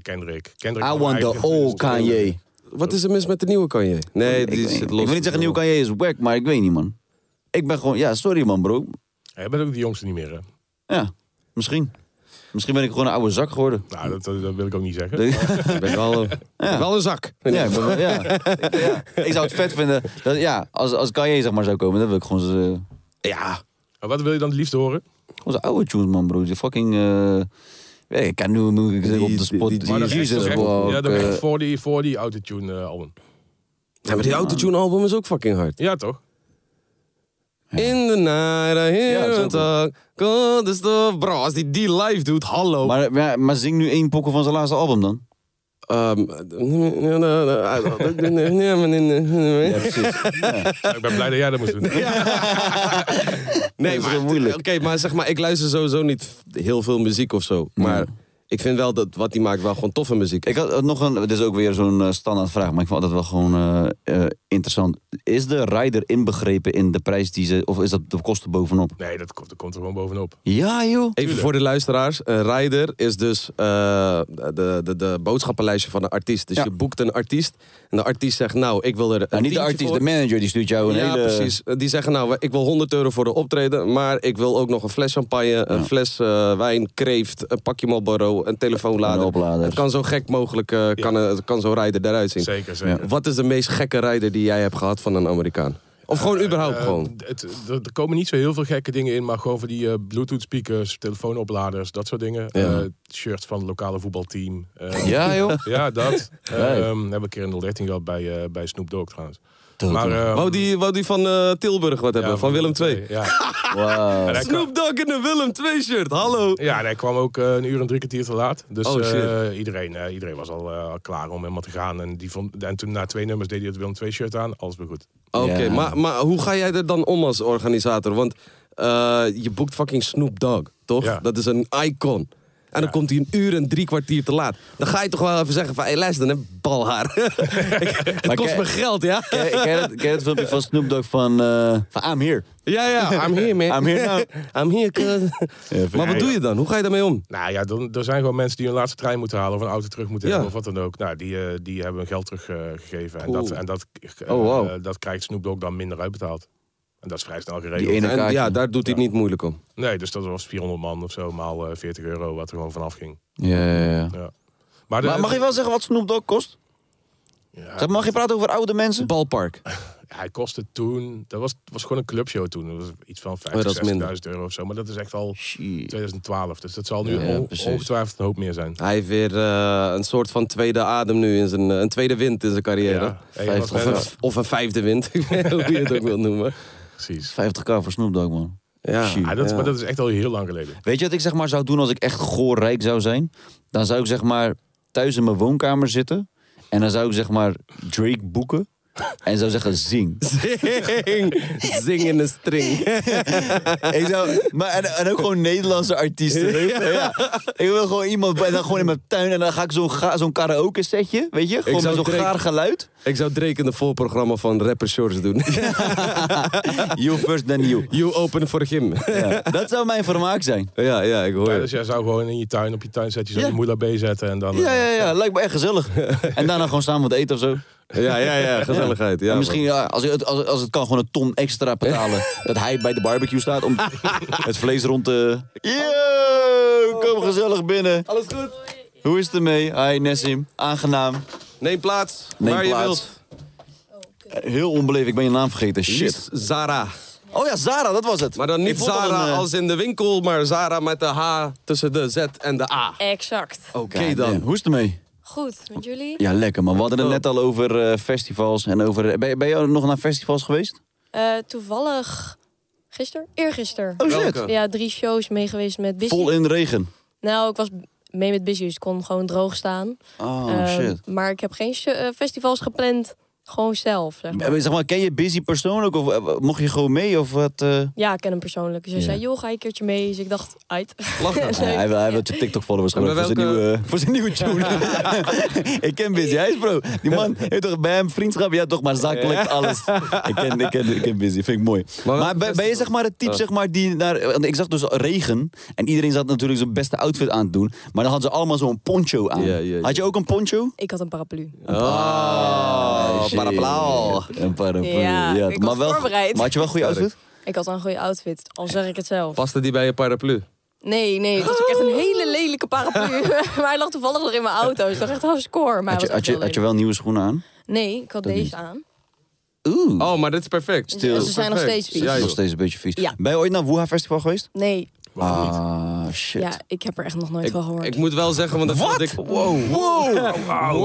Kendrick. Kendrick I had want the eigenlijk- old Kanye. Wat is er mis met de nieuwe Kanye? Nee, die ik, zit ik los. wil niet zeggen nieuw Kanye is wack, maar ik weet niet, man. Ik ben gewoon... Ja, sorry, man, bro. Hij bent ook de jongste niet meer, hè? Ja, misschien. Misschien ben ik gewoon een oude zak geworden. Nou, dat, dat, dat wil ik ook niet zeggen. Ik ben wel, een- wel een zak. Ja, ik, ben wel- ja. Ik- ja. ik zou het vet vinden. Dat, ja, als, als Kanye zeg maar zou komen, dan wil ik gewoon zijn eh, Ja. Maar wat wil je dan het liefst horen? onze oude tunes, man, bro. Die fucking... eh, ja, ik kan nu nu- ik zeg op de Die- spot. die- die- Maar die- dat is Jesus echt, Walk, ja, dat is eh. echt voor die, voor die autotune eh, album. ja, maar die autotune-album is ook fucking hard. Ja, toch? In the night I Ja, hear dat is ja, ook talk. God is the... Bro, als die die live doet, hallo. maar, maar, maar zing nu één pokkel van zijn laatste album dan. Ehm, Ik ben blij dat jij dat moest doen. nee, is maar, heel moeilijk. Oké, maar zeg maar, ik luister sowieso niet heel veel muziek of zo. Maar Mm. ik vind wel dat wat hij maakt wel gewoon toffe muziek is. Ik had eh, nog een, dit is ook weer zo'n eh, standaard vraag, maar ik vond dat wel gewoon eh, eh, interessant. Is de rider inbegrepen in de prijs die ze, of is dat de kosten bovenop? Nee, dat komt, dat komt er gewoon bovenop. Ja joh. Even voor de luisteraars, een rider is dus eh, de, de, de boodschappenlijstje van een artiest. Dus Ja. je boekt een artiest en de artiest zegt nou, ik wil er een Maar niet de tientje artiest, voor. de manager die stuurt jou een ja, hele... precies. Die zeggen nou, ik wil 100 euro voor de optreden, maar ik wil ook nog een fles champagne, een fles eh, wijn, kreeft, een pakje Marlboro, een telefoonlader. Een oplader. Het kan zo gek mogelijk, eh, kan, een- het kan zo'n rider eruit zien. Zeker, zeker. Wat is de meest gekke rider die jij hebt gehad van een Amerikaan? Of gewoon überhaupt Eh, gewoon? het- er- er komen niet zo heel veel gekke dingen in, maar gewoon voor die eh, Bluetooth speakers, telefoonopladers, dat soort dingen. Ja. Eh, shirts van het lokale voetbalteam. Eh, Ja joh. Ja, dat. Ja. Ehm hebben we een keer in de 13 gehad bij, eh, bij Snoop Dogg trouwens. Dood, maar, hoor. ehm, Wou Oh, die, wou die van eh, Tilburg wat hebben, ja, van Willem II? Ja, Wauw. En hij kwam, Snoop Dogg in een Willem II shirt, hallo. ja en hij kwam ook eh, een uur en drie kwartier te laat. Dus Oh, shit. eh, iedereen, eh, iedereen was al eh, klaar om helemaal te gaan. En, die vond, en toen na twee nummers deed hij het Willem II shirt aan. Alles weer goed. Oké, Ja. maar, maar hoe ga jij er dan om als organisator? Want eh, je boekt fucking Snoop Dogg, toch? Ja. Dat is een icon. En dan komt hij een uur en drie kwartier te laat. Dan ga je toch wel even zeggen van, hé hey, luister, dan heb ik balhaar. Ik- het Maar kost ken- me geld, ja? Ken je- ken je dat- ken je dat filmpje van Snoop Dogg van, eh van I'm Here? Ja, ja, I'm here, man. I'm here now. I'm here, cuz. maar wat ja. doe je dan? Hoe ga je daarmee om? Nou ja, dan, er zijn gewoon mensen die hun laatste trein moeten halen of een auto terug moeten Ja. hebben of wat dan ook. Nou, die, eh, die hebben hun geld teruggegeven. en dat, Oeh. en dat, eh, Oh, wow. eh, dat krijgt Snoop Dogg dan minder uitbetaald. En dat is vrij snel geregeld. Die ene En kaartje. ja, daar doet hij het niet moeilijk om. Nee, dus dat was 400 man of zo, maal eh, 40 euro, wat er gewoon vanaf ging. Ja, ja, ja. Ja. Maar, eh, de- Maar mag je wel zeggen wat Snoop Dogg kost? Ja. Zeg, Mag je praten over oude mensen? Balpark. Hij kostte toen, dat was, was gewoon een clubshow toen. Dat was iets van dat is 50, 60.000 minder. euro of zo. Maar dat is echt al Shit. 2012. Dus dat zal nu Ja, on- precies. Ah, ongetwijfeld een hoop meer zijn. Hij heeft weer eh, een soort van tweede adem nu, in zijn, eh, een tweede wind in zijn carrière. Ja. Hey, wat Vijftig- of, ben- een, of een vijfde wind, ik weet niet hoe je het ook wil noemen. Precies. 50k voor Snoop Dogg, man. Ja, Shit. Ah, dat, is- ja. Maar dat is echt al heel lang geleden. Weet je wat ik zeg maar zou doen als ik echt goorrijk zou zijn? Dan zou ik zeg maar thuis in mijn woonkamer zitten. En dan zou ik zeg maar Drake boeken. En zou zeggen zing. Zing, zing in de string. Ik zou, maar en, en ook gewoon Nederlandse artiesten. weet je? Ja. Ik wil gewoon iemand, en dan gewoon in mijn tuin. En dan ga ik zo'n ga- zo'n karaoke setje, weet je? Gewoon zou met zo'n Drake- gaar geluid. Ik zou Drake in de voorprogramma van Rapper Shores doen. You first, then you. You open for him. Ja. Dat zou mijn vermaak zijn. Ja, ja, ik hoor Ja, je. dus jij zou gewoon in je tuin, op je tuin zetten, je zou Ja. je moeder B zetten en dan... eh, Ja, ja, ja. Lijkt me echt gezellig. En daarna gewoon samen wat eten of zo. Ja, ja, ja, gezelligheid. Ja, En misschien, ja, als, het, als, als het kan, gewoon een ton extra betalen. dat hij bij de barbecue staat om het vlees rond te... Yo, kom gezellig binnen. Alles goed? Hoe is het ermee? Hi, Nessim. Aangenaam. Neem plaats, Neem waar je plaats. Eh, wilt. Heel onbeleefd, ik ben je naam vergeten. Shit. Lies Zara. Oh ja, Zara, dat was het. Maar dan Ik niet vond al Zara een, eh, als in de winkel, maar Zara met de H tussen de Z en de A. Exact. Oké eh, God dan. Oh. damn. Hoe is het ermee? Goed, met jullie? Ja, lekker man. We hadden het net al over eh, festivals en over... eh, Ben, je- ben je nog naar festivals geweest? Eh, toevallig gisteren? Eergisteren. Oh shit. Welke? Ja, drie shows meegeweest met Busy. Vol in de regen. Nou, ik was mee met Busy, dus ik kon gewoon droog staan. Oh Ehm, shit. Maar ik heb geen sh- eh, festivals gepland Gewoon zelf, zeg maar. Eh, Zeg maar, ken je Busy persoonlijk? Of eh, mocht je gewoon mee? Of wat? eh? Ja, ik ken hem persoonlijk. Dus hij Ja. zei, joh, ga je een keertje mee? Dus ik dacht, uit. Ja, Leuk. hij wil, hij wil je TikTok-followers Maar gewoon voor, zijn welke- nieuwe- voor zijn nieuwe tune. ik ken Busy. Hij is bro. Die man heeft toch bij hem vriendschap? Ja, toch, maar zakelijk alles. Ik ken, ik, ken, ik ken Busy. Vind ik mooi. Maar Maar, welke ben, ben je zeg maar het type zeg maar, die naar... want ik zag dus regen. En iedereen zat natuurlijk zijn beste outfit aan te doen. Maar dan hadden ze allemaal zo'n poncho aan. Ja, ja, Ah, ja. Had je ook een poncho? Ik had een paraplu. Oh, paraplu. Een paraplu. Ja, ik was wel, voorbereid. Maar had je wel een goede outfit? Ik had al een goede outfit, al zeg ik het zelf. Paste die bij je paraplu? Nee, nee, het was ook echt een hele lelijke paraplu. maar hij lag toevallig nog in mijn auto. Dus ik dacht echt, oh, score. Maar hij Had je, was had, echt je, heel had je wel nieuwe schoenen aan? lelijk. Nee, ik had deze aan. Oeh. Oh, maar dit is perfect. Stil. Ze zijn nog Perfect. steeds vies. Ja, nog joh. steeds een beetje vies. Ja. Ben je ooit naar het Woeha Festival geweest? Nee, Ah, shit. ja, ik heb er echt nog nooit van gehoord. Ik moet wel zeggen, want dat vond ik... Wow.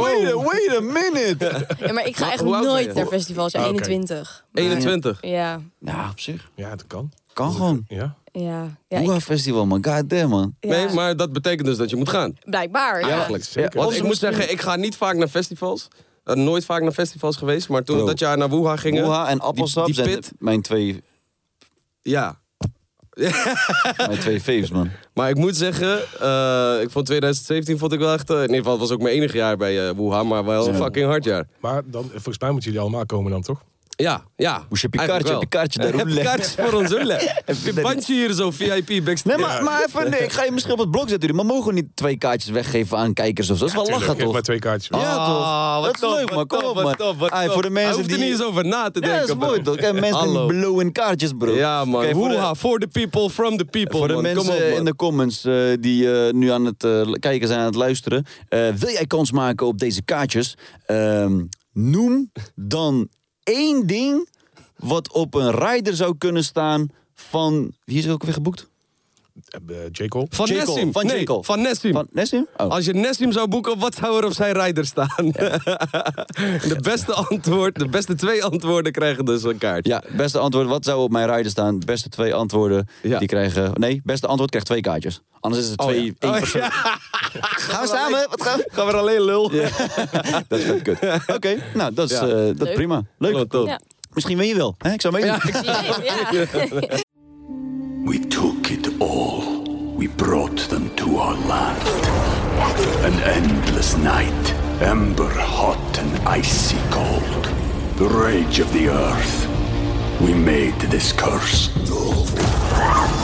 Wait, a, wait a minute. Ja, maar ik ga echt hoe oud ben je? nooit naar festivals. oké. 21. 21. Ja, ja, op zich. Ja, dat kan. Kan gewoon. Ja. ja. ja, Woeha ik, Festival, man. God damn, man. ja. Nee, maar dat betekent dus dat je moet gaan. Blijkbaar, ja. Eigenlijk. zeker. Want ik moet zeggen, ik ga niet vaak naar festivals. Eh, nooit vaak naar festivals geweest, maar toen we Bro. dat jaar naar Wuha gingen... Woeha Oh. en Appelsap die, die zijn pit, mijn twee, Ja. mijn twee faves, man. Maar ik moet zeggen, eh, ik vond 2017 vond ik wel echt... eh, in ieder geval, het was ook mijn enige jaar bij eh Wuha, maar wel een fucking hard jaar. Maar dan, volgens mij moeten jullie allemaal komen dan, toch? Ja, ja. Moest je Eigenlijk Picardje, wel. Picardje, daar Heb je roelen. kaartjes voor ons roelen. Heb je bandje hier zo, VIP backstage. Nee, maar, maar even, nee, ik ga je misschien op het blok zetten, jullie, maar mogen we niet twee kaartjes weggeven aan kijkers of zo? Dat is wel Tuurlijk, lachen, geef toch? maar twee kaartjes. Ja, Ah, toch? wat Dat is top, leuk, wat man. Kom top, op, wat man. top, wat Ai, top. Voor de Hij mensen hoeft er die... niet eens over na te Ja, denken. dat is mooi, bro. toch? En mensen Hallo. die blowen kaartjes, bro. Ja, man. Kijk, voor de- Woeha, for the people, from the people. Voor de man. Kom mensen op, man. in de comments eh, die eh, nu aan het eh, kijken zijn, aan het luisteren. eh, wil jij kans maken op deze kaartjes? Ehm, noem dan één ding wat op een rider zou kunnen staan van... Wie is er ook weer geboekt? Eh, J. Cole. Van J. Cole, Nessim. van J. nee, Cole. van Nessim. Van Nessim? Oh. Als je Nessim zou boeken, wat zou er op zijn rijder staan? de beste antwoord, de beste twee antwoorden krijgen dus een kaart. Ja, beste antwoord. Wat zou op mijn rider staan? Beste twee antwoorden. Ja. Die krijgen... Nee, beste antwoord krijgt twee kaartjes. Anders is het twee... één Oh, persoon. ja. Gaan we samen? Wat gaan we? Gaan we er alleen lul. Dat is vet kut. Oké, nou, dat is Ja. eh, dat Leuk. prima. Leuk. Klopt, top. Ja. Misschien win je wel. Hè? Ik zou meedoen. Ja. We took it all. We brought them to our land. An endless night, ember hot and icy cold. The rage of the earth. We made this curse.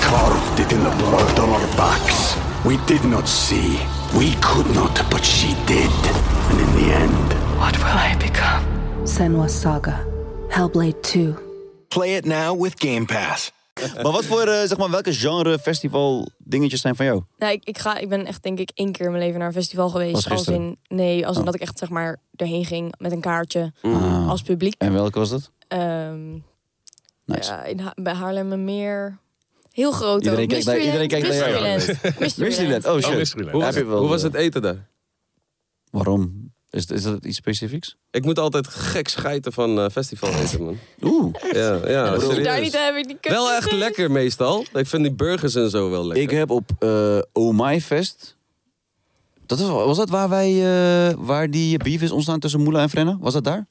Carved it in the blood on our backs. We did not see. We could not, but she did. And in the end, What will I become? Senwa Saga, Hellblade 2. Play it now with Game Pass. Maar wat voor, eh, zeg maar, welke genre festival dingetjes zijn van jou? Nou, ik, ik, ga, ik ben echt denk ik één keer in mijn leven naar een festival geweest. Was als gisteren? in, nee, als in dat ik echt zeg maar erheen ging met een kaartje Mm. als publiek. Oh. Ah. En welke was dat? Ehm, Nice. ja, in ha bij Haarlemmermeer. Heel groot Iedereen ook. kijkt naar- iedereen kijkt naar jou. Mysteryland. Mysteryland. Mysteryland. Oh Oh, shit. Mysteryland. Hoe, Heb was, je wel, hoe was eh, het eten daar? Waarom? Is, is dat iets specifieks? Ik moet altijd gek schijten van eh, festival eten, man. Oeh. Ja, ja, Als je daar serieus. niet hebt, ik die kut Wel echt gezien. lekker meestal. Ik vind die burgers en zo wel lekker. Ik heb op eh Oh My Fest. Dat was, was dat waar wij, eh, waar die beef is ontstaan tussen Moela en Frenna? Was dat daar?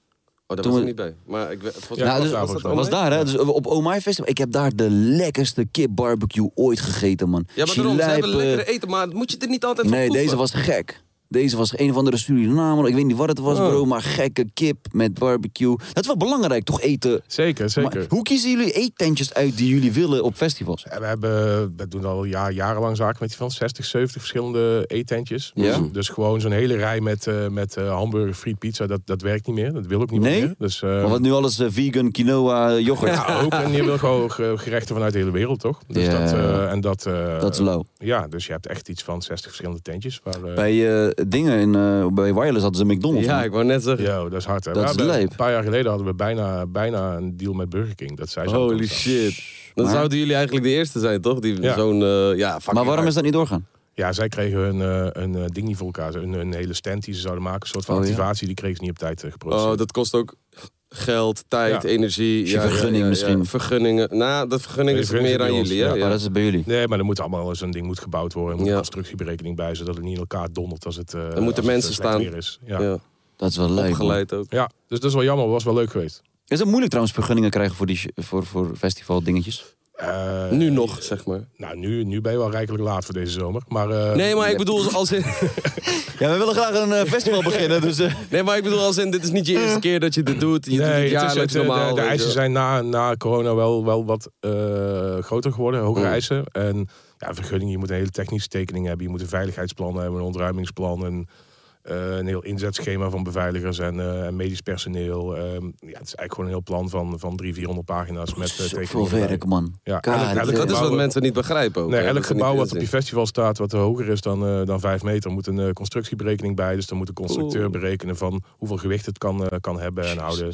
Oh, daar Toen was ik we- niet bij. Maar ik, we- volgens Ja, mij Nou, was dus, daar was, volgens dat mij. was online? daar, hè? Dus op Oh My Festival. Ik heb daar de lekkerste kip barbecue ooit gegeten, man. Ja, maar daarom, ze hebben Chilijpen. lekkere eten, maar moet je er niet altijd van Nee, proeven. deze was gek. Deze was een of andere Surinamer. Ik weet niet wat het was, Oh. bro. Maar gekke kip met barbecue. Dat is wel belangrijk, toch? Eten. Zeker, zeker. Maar hoe kiezen jullie eettentjes uit die jullie willen op festivals? Ja, We, hebben, we doen al ja, jarenlang zaken met die van 60, 70 verschillende eetentjes. Ja. Dus, dus gewoon zo'n hele rij met, eh, met eh, hamburger, friet, pizza, dat, dat werkt niet meer. Dat wil ook niet Nee? meer. Dus, eh, Maar wat nu alles eh, vegan, quinoa, eh, yoghurt. ja, ook. En je wil gewoon ge- gerechten vanuit de hele wereld, toch? Dus Ja. dat, eh, en dat, eh, Dat is lauw. Ja, dus je hebt echt iets van 60 verschillende tentjes. Waar, eh, Bij eh, dingen in, eh, bij Wireless hadden ze McDonald's. Ja, man. ik wou net zeggen. Yo, dat is hard. hè. Dat We is hebben- lijp. Een paar jaar geleden hadden we bijna, bijna een deal met Burger King. Dat zij zouden Holy komen staan. shit. Dan Maar- zouden jullie eigenlijk de eerste zijn, toch? Die Ja. zo'n... eh, ja, fucking maar waarom hard. is dat niet doorgaan? Ja, zij kregen een, eh, een eh, ding niet voor elkaar. Een, een hele stand die ze zouden maken. Een soort van Oh, ja. activatie. Die kregen ze niet op tijd eh, geproduceerd. Oh, dat kost ook geld, tijd, Ja. energie. je vergunning misschien. Vergunningen. Nou, de vergunning Nee, is vergunning meer aan bij ons, jullie, hè? ja. Ja. Maar dat is bij jullie. Nee, maar er moet allemaal zo'n ding moet gebouwd worden. Er moet Ja. een constructieberekening bij, zodat het niet in elkaar dondert als het. eh, moeten als het, mensen eh, slecht staan. Weer is. Ja. Ja. Dat is wel leuk. man. Opgeleid ook. Ja, dus dat is wel jammer. Was wel leuk geweest. Is het moeilijk trouwens vergunningen krijgen voor, die, sh- voor, voor festival dingetjes? Eh, Nu nog, zeg maar. Nou, nu, nu ben je wel rijkelijk laat voor deze zomer. Maar, eh, Nee, maar ik bedoel, als in, Ja, we willen graag een eh, festival beginnen, dus... eh, nee, maar ik bedoel als in, dit is niet je eerste keer dat je dit doet. Je doet nee, het het is- jaarlijks het- de- normaal. de, weet je eisen wel. zijn na, na corona wel, wel wat eh, groter geworden, hogere Mm. eisen. En ja, vergunningen, je moet een hele technische tekening hebben. Je moet een veiligheidsplan hebben, een ontruimingsplan. En, eh, een heel inzetschema van beveiligers en, eh, en medisch personeel. Ehm, ja, het is eigenlijk gewoon een heel plan van, van 300, 400 pagina's met eh, Zoveel tekeningen. erbij. werk, man. Ja, God, elk- elk- eh, Dat is wat gebouwen- mensen niet begrijpen ook. Nee, hè, dat elk ze niet gebouw wat op inzien. je festival staat, wat hoger is dan, eh, dan 5 meter, moet een eh, constructieberekening bij. Dus dan moet de constructeur Oeh. berekenen van hoeveel gewicht het kan, eh, kan hebben en houden.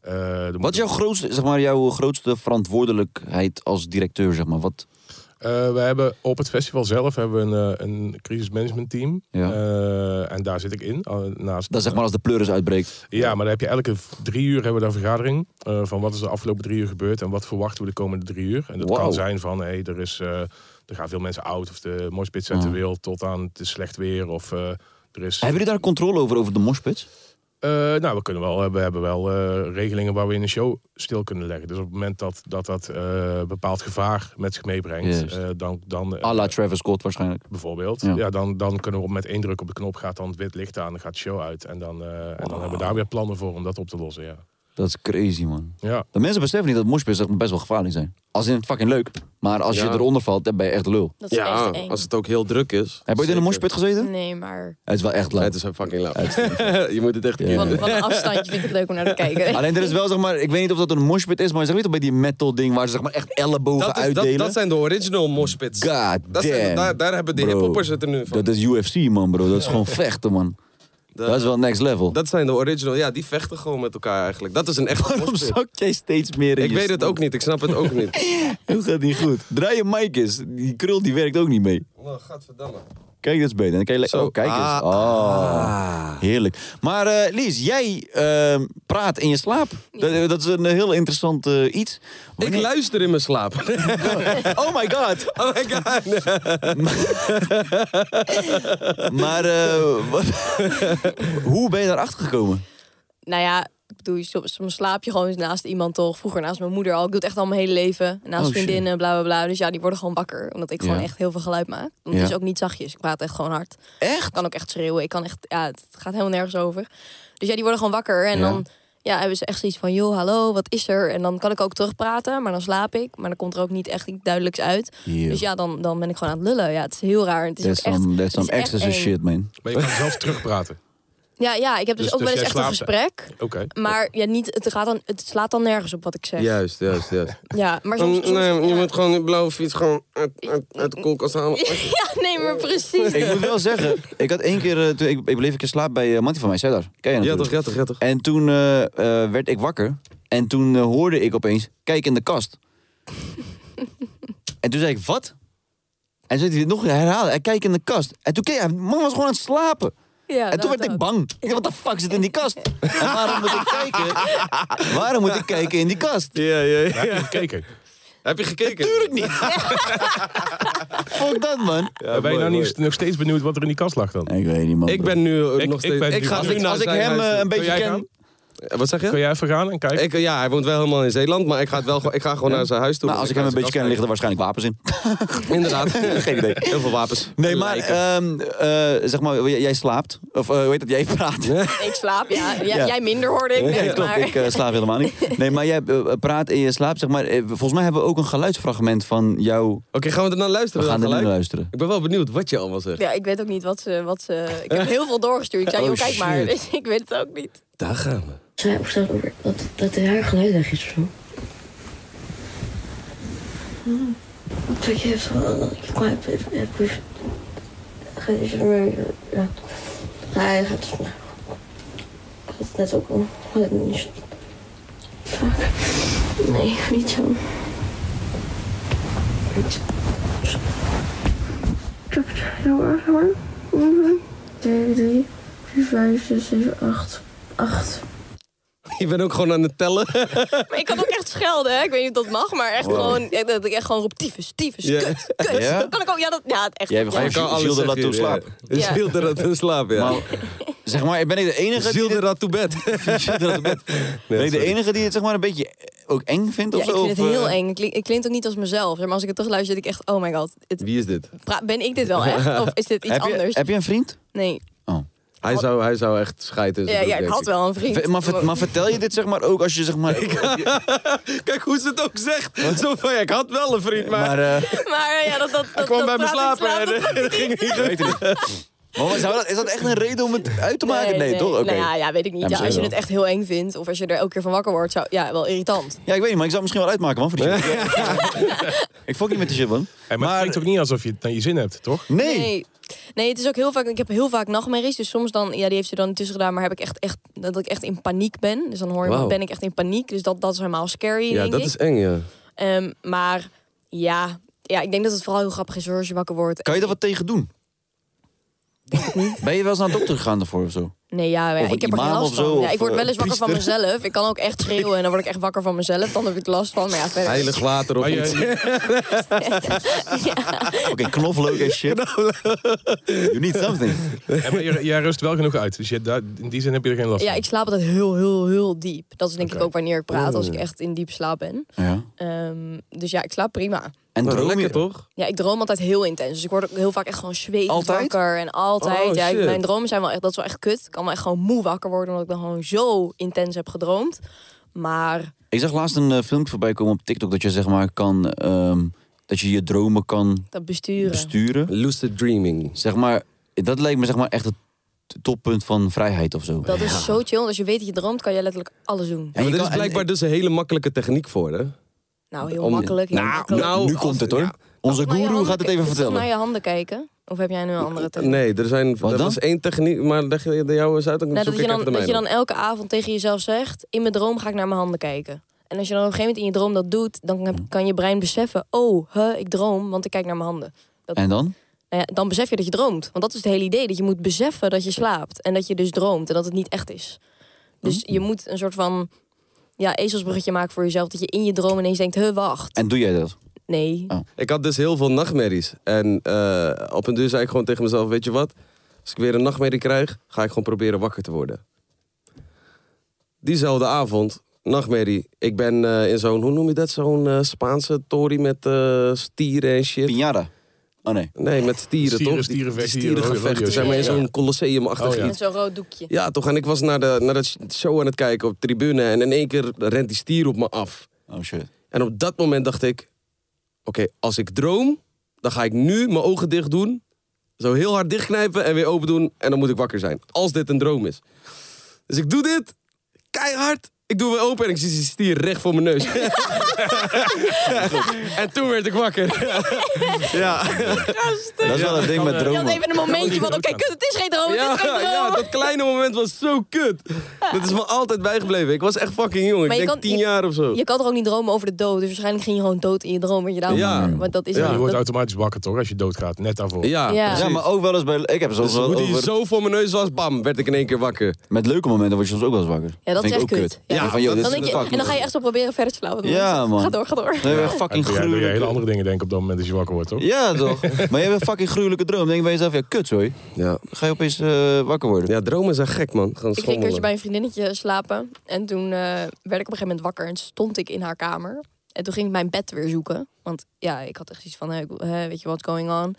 Eh, er moet Wat is jouw grootste, zeg maar, jouw grootste verantwoordelijkheid als directeur, zeg maar? Wat, Eh, we hebben op het festival zelf hebben we een, eh, een crisismanagement team. Ja. Eh, en daar zit ik in. al- naast, dat is zeg maar als de pleuris uitbreekt. Ja, maar dan heb je elke v- drie uur hebben we daar een vergadering. eh, van wat is de afgelopen drie uur gebeurd en wat verwachten we de komende drie uur. En dat Wauw. kan zijn van, hey, er, is, eh, er gaan veel mensen oud of de moshpit zet de Ah. wil tot aan het is slecht weer of... eh, er is, Hebben jullie daar controle over, over de moshpits? Eh, nou, we, kunnen wel, we hebben wel eh, regelingen waar we in een show stil kunnen leggen. Dus op het moment dat dat, dat eh, bepaald gevaar met zich meebrengt, Juist. eh, dan, dan eh, A la Travis Scott waarschijnlijk. bijvoorbeeld. Ja. Ja, dan, dan kunnen we op met één druk op de knop gaat dan het wit licht aan, dan gaat de show uit. En dan, eh, en dan hebben we daar weer plannen voor om dat op te lossen. Ja. Dat is crazy, man. Ja. De mensen beseffen niet dat moshpits echt best wel gevaarlijk zijn. Als in fucking leuk, maar als je Ja. eronder valt, dan ben je echt lul. Dat is Ja, echt eng. als het ook heel druk is. Heb je ooit in een Zeker. moshpit gezeten? Nee, maar Het is wel echt leuk. Het is fucking laat. je moet het echt een Ja. keer van, doen. van een afstandje vind ik het leuk om naar te kijken. Alleen er is wel, zeg maar, ik weet niet of dat een moshpit is, maar zeg weet toch bij die metal ding waar ze zeg maar echt ellebogen Dat, is, dat, uitdelen? dat zijn de original moshpits. God Dat zijn- damn. daar, daar hebben de Bro, hiphoppers het er nu van. Dat is UFC, man, bro. Dat is gewoon vechten, man. Dat is wel next level. Dat zijn de original. Ja, die vechten gewoon met elkaar eigenlijk. Dat is een echte Waarom moshpit. zak jij steeds meer in Ik je weet het ook niet. Ik snap het ook niet. Het gaat niet goed. Draai je mic eens. Die krul die werkt ook niet mee. Oh, gadverdamme. Kijk, dat is beter. Dan kan je le- Zo. Oh, kijk eens. Ah. Oh, heerlijk. Maar eh, Lies, jij ehm, praat in je slaap. Dat, dat is een heel interessant eh, iets. Ik Wanneer- luister in mijn slaap. Oh my god. Oh my god. Maar eh, wat- hoe ben je daarachter gekomen? Nou ja, ik bedoel, je- soms slaap je gewoon naast iemand toch. Vroeger naast mijn moeder al. Ik doe het echt al mijn hele leven. Naast Oh, shit. vriendinnen, bla bla bla. Dus ja, die worden gewoon wakker. Omdat ik Ja. gewoon echt heel veel geluid maak. Want Ja. Het is ook niet zachtjes. Ik praat echt gewoon hard. Echt? Ik kan ook echt schreeuwen. Ik kan echt, ja, het gaat helemaal nergens over. Dus ja, die worden gewoon wakker. En Ja. dan ja, hebben ze echt zoiets van, joh, hallo, wat is er? En dan kan ik ook terugpraten, maar dan slaap ik. Maar dan komt er ook niet echt iets duidelijks uit. Yo. Dus ja, dan, dan ben ik gewoon aan het lullen. Ja, het is heel raar. en Het is That's ook echt, some, that's het is some echt exorcist eng. shit, man. Maar je kan zelf terugpraten. Ja, ja, ik heb dus, Dus- ook dus wel eens jij echt een slaapt- gesprek. Oké. Maar ja, niet, het, gaat dan, het slaat dan nergens op wat ik zeg. Ja, Juist, juist, juist. maar soms... soms- Mm, nee, je ja. moet gewoon die blauwe fiets gewoon uit, uit, uit de koelkast halen. Ja, nee, maar precies. Ik moet wel zeggen, ik had één keer, eh, toen, ik, ik bleef een keer slaap bij eh Mattie van mij, Cedar. Ken je Ja, natuurlijk. toch, ja, toch, ja, toch. En toen eh, eh, werd ik wakker. En toen eh, hoorde ik opeens, kijk in de kast. en toen zei ik, wat? En zei hij het nog herhalen, hij kijk in de kast. En toen keek hij, man was gewoon aan het slapen. Ja, en toen dat- werd ik dat. bang. Ik dacht, wat de fuck zit in die kast? En waarom moet ik kijken? Waarom moet ik kijken in die kast? Ja, ja, Daar heb je gekeken. Heb je gekeken? Tuurlijk niet. Fuck dat, man. Ja, ben mooi, je mooi. nou niet, nog steeds benieuwd wat er in die kast lag dan? Ik weet niet, man. Ik ben nu eh, Ik- nog ik steeds... ben Ik, nu- ga Als nu ik- naar Als ik zijn hem eh, huis. een beetje jij ken... gaan? Eh, Wat zeg Kun je? jij even gaan en kijken? Ik, eh, ja, hij woont wel helemaal in Zeeland, maar ik, ga het wel, gewoon- ik ga gewoon naar zijn huis toe. Nou, als ik hem een beetje ken, liggen er waarschijnlijk wapens in. Inderdaad. Geen idee. Heel veel wapens. Nee, maar Lijken. ehm, eh, zeg maar, jij, jij slaapt. Of eh, hoe heet dat? Jij praat. Ik slaap, ja. Jij- Ja. Jij minder hoorde ik. Ja, net, klopt. maar... Ik eh, slaap helemaal niet. Nee, maar jij eh, praat in je slaap, zeg maar. Eh, Volgens mij hebben we ook een geluidsfragment van jou. Oké, gaan we er naar We luisteren? gaan er dan nu eh, naar gelijk? luisteren. Ik ben wel benieuwd wat je allemaal zegt. Ja, ik weet ook niet wat ze, wat ze... Ik heb heel veel doorgestuurd. Ik zei, Oh, joh, kijk maar. shit. ik weet het ook niet. Daar gaan we. Zij of dat, dat, dat de haar geluid weg is of zo. Dat je hebt van dat je klaar hebt. heb- heb- heb- Gaat is er maar. Ja, Ja, hij gaat. Ik had het net ook al. Had het niet. Fuck. Nee, niet zo. Hoor, hoor. 2, 3, 4, 5, 6, 7, 8. 8. Je bent ook gewoon aan het tellen. Maar ik kan ook echt schelden, hè. Ik weet niet of dat mag, maar echt gewoon... echt Dat ik echt gewoon roep, tyfus, tyfus, Ja. kut, kut. Ja? Dat kan ik ook... Ja, dat... Ja, echt. Jij hebt ja. gewoon- Je kan Gilles alles de Latour zeggen, ja. slaap. Is Ja. Gilles de Latour slaap, ja. Maar Zeg maar, ben ik de enige... Ziel de rat to bed. ben ik de enige die het zeg maar een beetje eh, ook eng vindt? Ja, Of ik zo? vind het Of, eh, heel eng. Ik klink, ik klink ook niet als mezelf. Zeg maar als ik het terug luister, denk ik echt, oh my god. het- Wie is dit? pra- ben ik dit wel echt? Of is dit iets Heb je- anders? heb je een vriend? Nee. Hij Oh, zou, hij zou Oh, echt schijten. in Ja, zijn broek, ja, ik denk had wel een vriend. Ver- Maar, ver- maar vertel je dit zeg maar ook als je zeg maar... Kijk hoe ze het ook zegt. Zo van, ja, ik had wel een vriend, maar... Maar, eh, Maar eh, ja, dat, dat, dat, dat kwam bij me praat slapen niet slaap, en dat- dat ging niet goed. Maar wat zou dat- is dat echt een reden om het uit te maken? Nee, toch? Oké. Nou ja, ja, weet ik niet. Ja, Ja, misschien als je wel. het echt heel eng vindt, of als je er elke keer van wakker wordt, zou, ja, wel irritant. Ja, ik weet niet, maar ik zou het misschien wel uitmaken, man. Voor die shit. ik fok niet met die shit, man. maar, het klinkt ook niet alsof je het naar je zin hebt, toch? Nee. nee. Nee, het is ook heel vaak. Ik heb heel vaak nachtmerries. Dus soms dan, ja, die heeft ze dan tussen gedaan. Maar heb ik echt, echt dat ik echt in paniek ben. Dus dan hoor je, me, Wauw. ben ik echt in paniek. Dus dat, dat is helemaal scary. Ja, denk dat ik. is eng, ja. Ehm, maar ja, ja, ik denk dat het vooral heel grappig is hoor, als je wakker wordt. Kan je daar wat tegen doen? Ben je wel eens naar de dokter gegaan daarvoor of zo? Nee, ja, ja, Of een ik heb er geen imam last of van. zo, ja, of, ik word wel eh, eens wakker van priester. mezelf. Ik kan ook echt schreeuwen en dan word ik echt wakker van mezelf. Dan heb ik er last van. Maar ja, verder. Heilig water of Maar iets. je, Oké, knoflook en shit. You need something. ja, maar je- jij rust wel genoeg uit, dus je, daar- in die zin heb je er geen last Ja, van. ik slaap altijd heel, heel, heel diep. Dat is denk Oké. ik ook wanneer ik praat, als ik echt in diep slaap ben. Ja. Ehm, dus ja, ik slaap prima. En Nou, droom je? lekker, toch? Ja, ik droom altijd heel intens. Dus ik word ook heel vaak echt gewoon zweetend Altijd? wakker. En altijd. Oh, ja, ik- shit. mijn dromen zijn wel echt, dat is wel echt kut. Ik kan wel echt gewoon moe wakker worden, omdat ik dan gewoon zo intens heb gedroomd. Maar Ik zag laatst een eh, filmpje voorbij komen op TikTok dat je zeg maar kan... ehm, dat je je dromen kan dat besturen. besturen. Lucid dreaming. Zeg maar, dat lijkt me zeg maar echt het toppunt van vrijheid of zo. dat is zo chill. want Als je weet dat je droomt, kan je letterlijk alles doen. Ja, maar je er kan- is blijkbaar dus een hele makkelijke techniek voor, hè? Nou, heel Om- makkelijk. heel Nou, makkelijk. nou, nu komt het hoor. Ja. Onze Naar je guru gaat handen het even ki- is vertellen. Naar je handen kijken. Of heb jij nu een andere techniek? Nee, er, zijn, Wat er dan? was één techniek, maar leg je de jouwe eens uit, dan Nou, zoek dat je ik dan, even de dat je mijne dan elke avond tegen jezelf zegt: In mijn droom ga ik naar mijn handen kijken. En als je dan op een gegeven moment in je droom dat doet, dan heb- kan je brein beseffen: Oh, huh, ik droom, want ik kijk naar mijn handen. Dat, En dan? nou ja, dan besef je dat je droomt. Want dat is het hele idee: dat je moet beseffen dat je slaapt. En dat je dus droomt en dat het niet echt is. Dus Oh. je moet een soort van ja, ezelsbruggetje maken voor jezelf. Dat je in je droom ineens denkt: Huh, wacht. En doe jij dat? Nee. Oh. Ik had dus heel veel nachtmerries. En eh, op een duur zei ik gewoon tegen mezelf: Weet je wat? Als ik weer een nachtmerrie krijg, ga ik gewoon proberen wakker te worden. Diezelfde avond, nachtmerrie. Ik ben eh, in zo'n, hoe noem je dat? Zo'n eh, Spaanse tory met eh, stieren en shit. Pinjara. Oh nee. Nee, met stieren, Stieren, toch? Die- die stierenvechten, Stierengevechten. rodeo- Zeg maar in rodeo, zo'n colosseumachtig Oh, ja. iets. Met zo'n rood doekje. Ja, toch? En ik was naar, de, naar dat show aan het kijken op de tribune. En in één keer rent die stier op me af. Oh shit. En op dat moment dacht ik: oké, als ik droom, dan ga ik nu mijn ogen dicht doen. Zo heel hard dichtknijpen en weer open doen. En dan moet ik wakker zijn. Als dit een droom is. Dus ik doe dit keihard. Ik doe weer open en ik zie die stier recht voor mijn neus. en toen werd ik wakker. Oh, Dat is wel het ding met Je had dromen. even een momentje van: Oké, kut, het is geen droom. het Ja, is geen droom. ja, dat kleine moment was zo kut. Dat is me altijd bijgebleven. Ik was echt fucking jong. Maar Ik je denk kan- tien je- jaar of zo. Je kan er ook niet dromen over de dood. Dus waarschijnlijk ging je gewoon dood in je droom. Weet je daarom? Ja. Want dat is Ja, je wordt Ah, dat- automatisch wakker, toch? Als je doodgaat, net daarvoor. Ja, Ja. precies. Ja, maar ook wel eens bij... Ik heb soms Dus wel hoe die over... zo voor mijn neus was, bam, werd ik in één keer wakker. Met leuke momenten word je soms ook wel eens wakker. Ja, dat Vind is echt ik ook kut. Ja. Ja, van joh, dit dan is denk je, fucking- en dan ga je echt zo proberen verder te slapen. Ja, man. Ga door, ga door. Nee, echt En fucking doe jij- doe je gruwelijk. hele andere dingen denken op dat moment als je wakker wordt, toch? Ja, toch? maar je hebt een fucking gruwelijke droom. Dan denk je bij jezelf, ja, kut, sorry. Ja. Dan ga je opeens eh, wakker worden. Ja, dromen zijn gek, man. Gewoon Ik ging een schommelen. keertje bij een vriendinnetje slapen. En toen eh, werd ik op een gegeven moment wakker. En stond ik in haar kamer. En toen ging ik mijn bed weer zoeken. Want ja, ik had echt iets van, eh, eh, weet je, what's going on?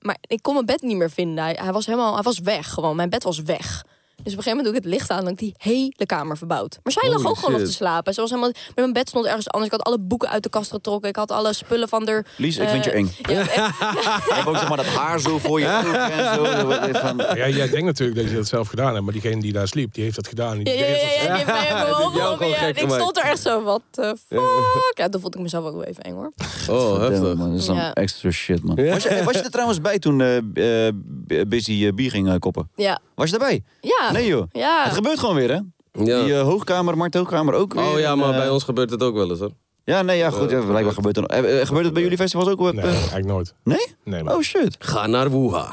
Maar ik kon mijn bed niet meer vinden. Hij, hij was helemaal, hij was weg gewoon. Mijn bed was weg. Dus op een gegeven moment doe ik het licht aan en ik die hele kamer verbouwd. Maar zij lag Holy ook gewoon nog shit. te slapen. Ze was helemaal, met mijn bed stond ergens anders. Ik had alle boeken uit de kast getrokken. Ik had alle spullen van haar. Lies, ik eh, vind je eng. Ja, echt, Je hebt ook zeg maar dat haar zo voor je ogen en zo. Dat wordt echt van- Ja, jij denkt natuurlijk dat je dat zelf gedaan hebt, maar diegene die daar sliep, die heeft dat gedaan. Die ja, ja, ja, heeft ja, dat- ja, die heeft mij even Die omhoog heeft jou gewoon geholpen, ja. gek Ik gemaakt. stond er echt zo, wat the fuck? Ja, toen voelde ik mezelf ook wel even eng hoor. Oh, Damn, heftig. man, dat is dan Ja. extra shit, man. Was, je, was je er trouwens bij toen eh, b- eh, b- Busy eh, bier ging eh, koppen? Ja. Was je erbij? Ja. Nee, joh. Ja. Het gebeurt gewoon weer, hè? Ja. Die eh, hoogkamer, Mart Hoogkamer ook weer. Oh ja, En, maar eh, bij ons gebeurt het ook wel eens, hoor. Ja, nee, Eh, ja, goed. Ja, blijkbaar gebeurt het. eh, eh, Gebeurt het bij jullie festivals ook? op, Nee, eh, eigenlijk nooit. nee? Nee, maar Oh, shit. Ga naar Wuha.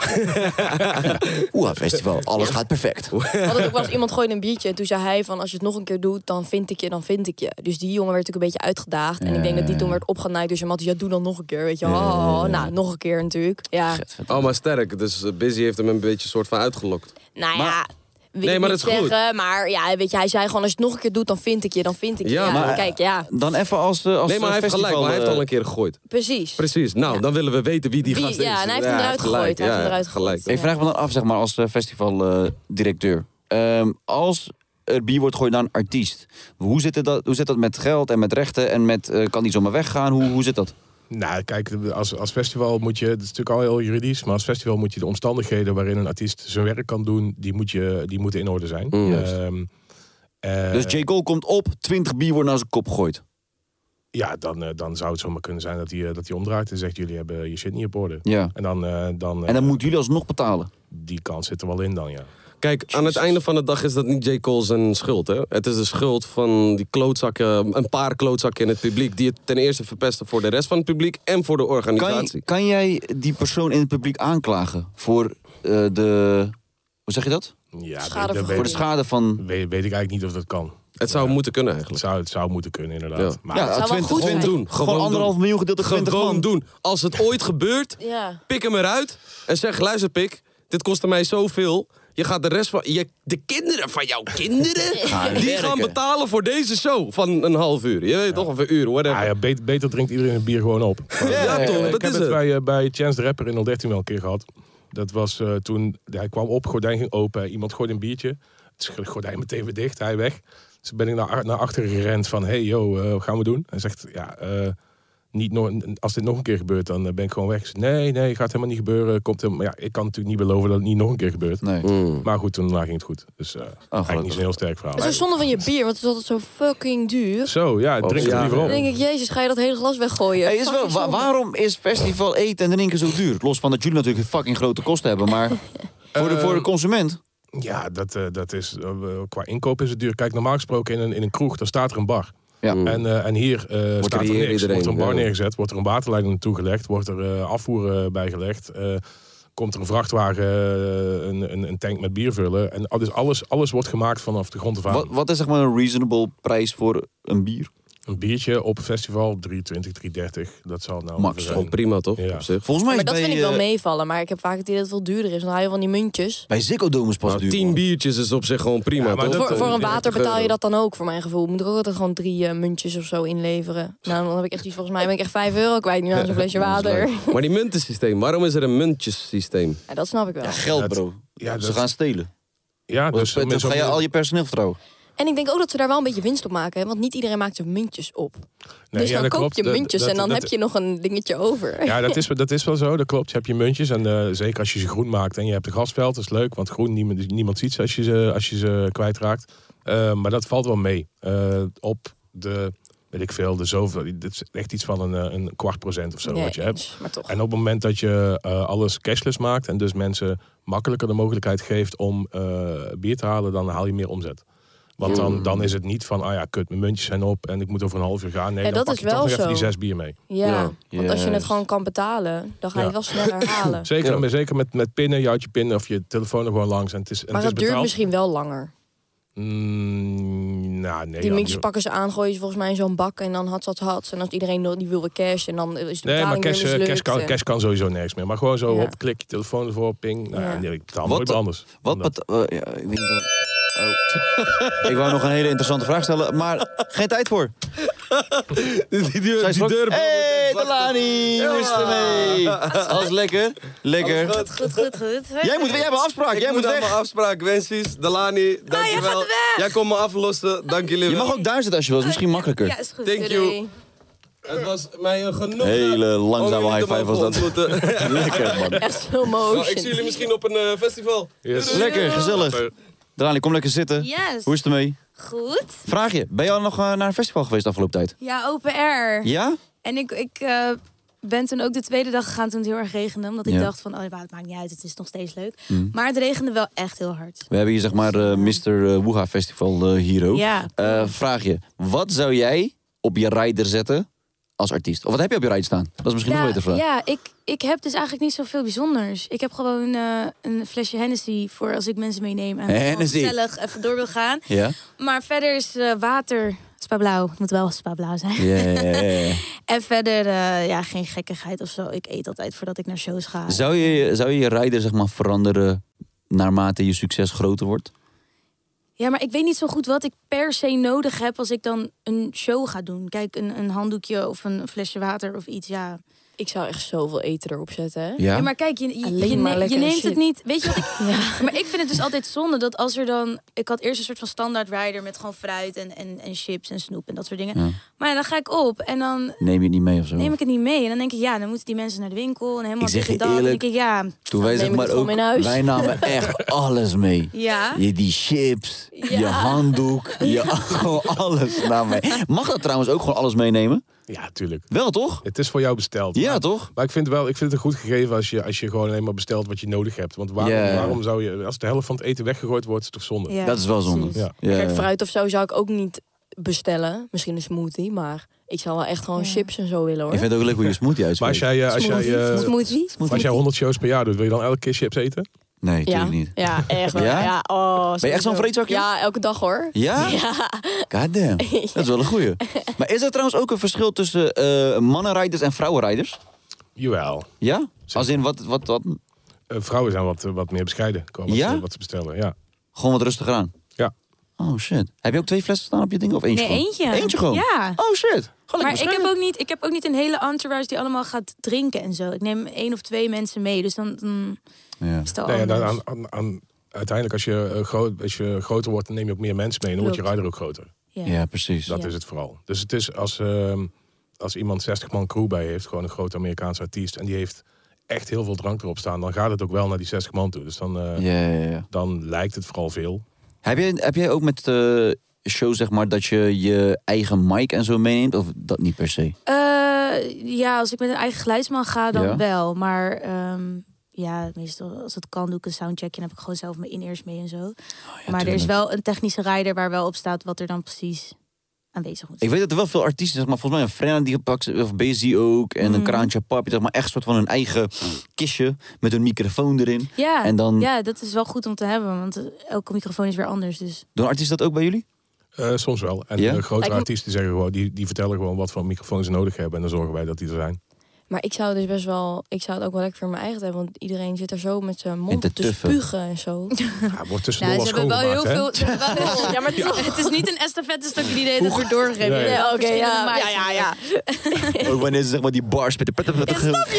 Oeh, festival. Alles gaat perfect. Had het ook wel eens iemand gooide een biertje. En toen zei hij van als je het nog een keer doet, dan vind ik je, dan vind ik je. Dus die jongen werd natuurlijk een beetje uitgedaagd. En ik denk dat die toen werd opgenaaid. Dus Mattie, ja, doe dan nog een keer. Weet je, oh, nou, nog een keer natuurlijk. Ja, Oh, maar sterk. Dus eh, Busy heeft hem een beetje soort van uitgelokt. nou ja. Maar- wil Nee, ik maar niet dat is goed. zeggen, Maar ja, weet je, hij zei gewoon, als je het nog een keer doet, dan vind ik je, dan vind ik je. Ja, Ja, maar- kijk, ja, Dan even als, eh, als nee, maar hij heeft gelijk, festival, maar hij heeft eh, al een keer gegooid. precies. Precies, nou, dan willen we weten wie die Wie- gast is. ja, en hij heeft hem eruit gelijk, gegooid, hij heeft ja, hem eruit gelijk. eh, Ik vraag me dan af, zeg maar, als eh, festivaldirecteur. Ehm, als er bier wordt gegooid naar een artiest, hoe zit, het dat, hoe zit dat met geld en met rechten en met eh, kan die zomaar weggaan? Hoe, hoe zit dat? Nou, kijk, als, als festival moet je, dat is natuurlijk al heel juridisch, maar als festival moet je de omstandigheden waarin een artiest zijn werk kan doen, die, moet je, die moeten in orde zijn. Ehm, eh, dus J. Cole komt op, 20 bier wordt naar zijn kop gegooid. ja, dan, eh, dan zou het zomaar kunnen zijn dat hij eh, dat hij omdraait en zegt: jullie hebben je shit niet op orde. Ja. En dan, eh, dan, eh, En dan moeten jullie alsnog betalen. die kans zit er wel in dan, ja. Kijk, aan het einde van de dag is dat niet J. Cole zijn schuld, hè? Het is de schuld van die klootzakken, een paar klootzakken in het publiek... die het ten eerste verpesten voor de rest van het publiek en voor de Kan, organisatie. kan jij die persoon in het publiek aanklagen voor eh, de. Hoe zeg je dat? ja Schade dat Voor de schade van. weet, weet ik eigenlijk niet of dat kan. Het zou moeten kunnen Het eigenlijk. zou, het zou moeten kunnen, inderdaad. Ja. Maar Ja, zou wel 20 goed gewoon zijn. doen. Gewoon, anderhalf miljoen gedeeld door 20 Gewoon man. doen. Als het ooit gebeurt, Ja. pik hem eruit en zeg... luister pik, dit kostte mij zoveel... Je gaat de rest van. Je, de kinderen van jouw kinderen. die gaan betalen voor deze show van een half uur. Je weet toch, of een uur, whatever. Ah ja, beter, beter drinkt iedereen het bier gewoon op. Maar, Ja, eh, toch, Ik dat heb is het het. bij, eh, bij Chance de Rapper in 013 wel een keer gehad. Dat was eh, toen, hij kwam op, gordijn ging open, iemand gooide een biertje. Het sch- gordijn meteen weer dicht, hij weg. Dus ben ik naar, a- naar achteren gerend van, hey yo, eh, wat gaan we doen? Hij zegt, ja, eh, niet no- als dit nog een keer gebeurt, dan eh, ben ik gewoon weg. Ik zeg, nee, nee, gaat helemaal niet gebeuren. Komt helemaal, maar ja, ik kan natuurlijk niet beloven dat het niet nog een keer gebeurt. Nee. Maar goed, toen daarna ging het goed. Dus eh eigenlijk gelukkig. niet zo'n heel sterk verhaal. Het is een zonde van je bier, want het is altijd zo fucking duur. Zo, ja, drink het ja. liever op. Dan denk ik, jezus, ga je dat hele glas weggooien? Hey, is wel, Fucking wa- zonde. waarom is festival eten en drinken zo duur? Los van dat jullie natuurlijk fucking grote kosten hebben, maar voor, de, Eh, voor de consument. Ja, dat, eh, dat is, eh, qua inkoop is het duur. Kijk, normaal gesproken in een, in een kroeg, daar staat er een bar. Ja. Mm. En, eh, en hier eh, staat er hier niks. iedereen, wordt er een bar ja. neergezet, wordt er een waterleiding naartoe gelegd, wordt er eh, afvoer eh, bijgelegd. eh, komt er een vrachtwagen, eh, een, een, een tank met bier vullen. En al- dus alles, alles wordt gemaakt vanaf de grond af aan. Wat, wat is zeg maar een reasonable prijs voor een bier? Een biertje op een festival, 3,20, 3,30. Dat zal nou Max. ongeveer zijn. Gewoon prima toch? Ja. Op zich. Volgens mij Maar is dat bij, vind ik wel eh, meevallen, maar ik heb vaak het idee dat het veel duurder is. Want hij heeft van die muntjes. bij Ziggo Dome is pas Nou, duur. tien man. biertjes is op zich gewoon prima. Ja, eh, maar toch? dat- Voor, voor een 40 water betaal je euro. dat dan ook, voor mijn gevoel. Moet ik ook altijd gewoon drie eh, muntjes of zo inleveren. Nou, dan heb ik echt iets, volgens mij ben ik echt vijf euro kwijt nu aan zo'n flesje water. Maar die muntensysteem, waarom is er een muntjesysteem? Ja, dat snap ik wel. Geld, bro. ja, Ze dat- gaan stelen. Ja, Dus, dus met zo'n- ga je al je personeel vertrouwen. En ik denk ook dat ze daar wel een beetje winst op maken. hè, Want niet iedereen maakt zijn muntjes op. Nee, dus ja, dan dat koop klopt. je Dat- muntjes dat- en dan dat- heb je nog een dingetje over. Ja, dat is, dat is wel zo, dat klopt. Je hebt je muntjes en eh, zeker als je ze groen maakt en je hebt een grasveld, dat is leuk, want groen niemand, niemand ziet ze als je ze, als je ze kwijtraakt. Eh, maar dat valt wel mee. Eh, op de, weet ik veel, de zoveel, dit is echt iets van een, eh, een kwart procent of zo Nee, wat je hebt. Maar toch. En op het moment dat je eh, alles cashless maakt en dus mensen makkelijker de mogelijkheid geeft om eh, bier te halen, dan haal je meer omzet. Want dan, dan is het niet van, ah ja, kut, mijn muntjes zijn op en ik moet over een half uur gaan. Nee, Ja, dan dat pak is je toch wel nog even zo. die zes bier mee. Ja, Ja, want als je het juist. gewoon kan betalen, dan ga je Ja. het wel sneller halen. Zeker, Ja. maar zeker met, met pinnen. Je houdt je pin of je telefoon er gewoon langs. En het is, en Maar het dat is duurt betaald. misschien wel langer. Mm, nou, nee. Die ja, muntjes duur- pakken ze aan, gooien ze volgens mij in zo'n bak en dan had dat had. En als iedereen nog- die wil weer cash en dan is de Nee, maar betaling cash, weer eh, mislukt. cash, kan, en- cash kan sowieso niks meer. Maar gewoon zo, Ja. op, klik je telefoon ervoor, ping. Nou, Ja. ja. nee, ik betaal Wat- nooit meer anders. Wat dan dat. bet- eh, ja, ik, denk dat... oh. ik wou nog een hele interessante vraag stellen, maar geen tijd voor. Die, die, die, Zij die schrok- deur. Hey, Delani, hoe is het ermee? Alles lekker? Lekker. Goed, goed, goed. Jij moet, jij hebt een afspraak, Ik jij moet aan weg. mijn afspraak, wensies. Delani, dankjewel. Ah, gaat weg. Jij komt me aflossen, dank jullie Je wel. mag ook daar zitten als je wil, is misschien makkelijker. Ja, is goed. Thank you. Doei. Het was mij een genoegen. Hele langzame om jullie te high five was dat. mogen ontmoeten. Lekker, man. Echt slow Nou, ik zie motion. jullie misschien op een eh, festival. Yes. Lekker, gezellig. Eh, Delani, kom lekker zitten. Yes. Hoe is het ermee? Goed. Vraag je, ben je al nog eh, naar een festival geweest de afgelopen tijd? Ja, open air. Ja? En ik, ik eh, ben toen ook de tweede dag gegaan toen het heel erg regende. Omdat ik Ja. Mm. dacht van, oh, het maakt niet uit, het is nog steeds leuk. Maar het regende wel echt heel hard. We hebben hier zeg maar eh, Mr. eh, Wuha Festival eh, hier ook. Ja. Eh, vraag je, wat zou jij op je rider zetten als artiest? Of wat heb je op je rider staan? Dat is misschien nog ja, een betere vraag. ja ik, ik heb dus eigenlijk niet zoveel bijzonders. Ik heb gewoon eh, een flesje Hennessy voor als ik mensen meeneem. En gewoon Hennessy. gezellig even door wil gaan. Ja? Maar verder is eh, water... Spa blauw. Het moet wel spa blauw zijn. Ja, ja, ja, ja. En verder, eh, ja, geen gekkigheid of zo. Ik eet altijd voordat ik naar shows ga. Zou je zou je, je rider zeg maar veranderen naarmate je succes groter wordt? Ja, maar ik weet niet zo goed wat ik per se nodig heb als ik dan een show ga doen. Kijk, een, een handdoekje of een flesje water of iets, ja. Ik zou echt zoveel eten erop zetten, hè? Ja, maar kijk, je, je, Alleen je, maar ne- je lekkere neemt shit. het niet. Weet je wat ik... Maar ik vind het dus altijd zonde dat als er dan... Ik had eerst een soort van standaard rider met gewoon fruit en, en, en chips en snoep en dat soort dingen. Ja. Maar ja, dan ga ik op en dan Neem je het niet mee of zo? neem ik het niet mee. En dan denk ik, ja, dan moeten die mensen naar de winkel en helemaal Ik zeg dit en je dat. En dan eerlijk, denk ik, ja, Toen wij zeg maar ook, wij namen echt alles mee. Ja. Je, die chips, je Ja. handdoek, je, gewoon alles namen mee. Mag dat trouwens ook gewoon alles meenemen? Ja, tuurlijk. Wel toch? Het is voor jou besteld. Ja, toch? Maar ik vind, wel, ik vind het een goed gegeven als je, als je gewoon alleen maar bestelt wat je nodig hebt. Want waarom, Ja. waarom zou je, als de helft van het eten weggegooid wordt, is het toch zonde? Ja, Dat is wel zonde. precies. Ja. Kijk, fruit of zo zou ik ook niet bestellen. Misschien een smoothie, maar ik zou wel echt gewoon chips en zo willen hoor. Ik vind het ook leuk hoe je smoothie uitspreekt. Maar als jij, eh, als jij, Smoothie. eh, Smoothie. als jij 100 shows per jaar doet, wil je dan elke keer chips eten? Nee, ja. Ja, echt wel. Ja? Ja? oh, Ben je echt zo'n sowieso. vreedzakje? Ja, elke dag hoor. Ja? Ja. Goddamn, dat is wel een goeie. Maar is er trouwens ook een verschil tussen eh mannenrijders en vrouwenrijders? Jawel. Ja? Als in wat... wat, wat... Eh, vrouwen zijn wat, wat meer bescheiden qua wat, Ja? ze, wat ze bestellen. Ja. Gewoon wat rustiger aan? Ja. Oh shit. Heb je ook twee flessen staan op je ding of eentje nee, gewoon? eentje. Eentje gewoon? Ja. Oh shit. Gewoon maar ik heb, ook niet, ik heb ook niet een hele entourage die allemaal gaat drinken en zo. Ik neem één of twee mensen mee, dus dan... dan is het al Nou ja, dan anders. aan, aan, aan- uiteindelijk, als je, eh, groot, als je groter wordt, dan neem je ook meer mensen mee. En dan wordt je Klopt. rider ook groter. Ja. Ja, precies. Dat Ja. is het vooral. Dus het is als, ehm, als iemand 60 man crew bij heeft, gewoon een grote Amerikaanse artiest. En die heeft echt heel veel drank erop staan. Dan gaat het ook wel naar die 60 man toe. Dus dan, eh, Ja, ja, ja. dan lijkt het vooral veel. Heb jij, heb jij ook met eh show zeg maar dat je je eigen mic en zo meeneemt? Of dat niet per se? Eh, ja, als ik met een eigen geluidsman ga, dan Ja. wel. Maar ehm, ja, meestal als het kan, doe ik een soundcheck en heb ik gewoon zelf mijn in-ears mee en zo. maar er is Oh, tuurlijk. wel een technische rider waar wel op staat wat er dan precies aanwezig moet Ik weet dat er wel veel artiesten, zeg maar, volgens mij een Frenna die gepakt, of Basie ook, en een Mhm. kraantje pap, zeg maar echt soort van een eigen kistje met een microfoon erin. zijn. Ja, En dan ja, dat is wel goed om te hebben, want eh, elke microfoon is weer anders. Dus. doen artiesten dat ook bij jullie? Eh, soms wel. En Ja? eh, grotere Lijkt me- artiesten zeggen gewoon, die, die vertellen gewoon wat voor microfoons ze nodig hebben. En dan zorgen wij dat die er zijn. Maar ik zou dus best wel, ik zou het ook wel lekker voor mijn eigen hebben, want iedereen zit er zo met zijn En mond te te, tuffen. spugen en zo. Ja, wordt tussendoor wel ze hebben wel schoongemaakt, heel hè? veel. ze hebben wel heel veel- Ja, maar het is, het is niet een estafette stukje die de hele tijd wordt doorgegeven. Nee. Je hebt wel Nee, oké, verschillende ja, maatjes. ja, ja, ja. ook wanneer ze zeg maar die bars met de pet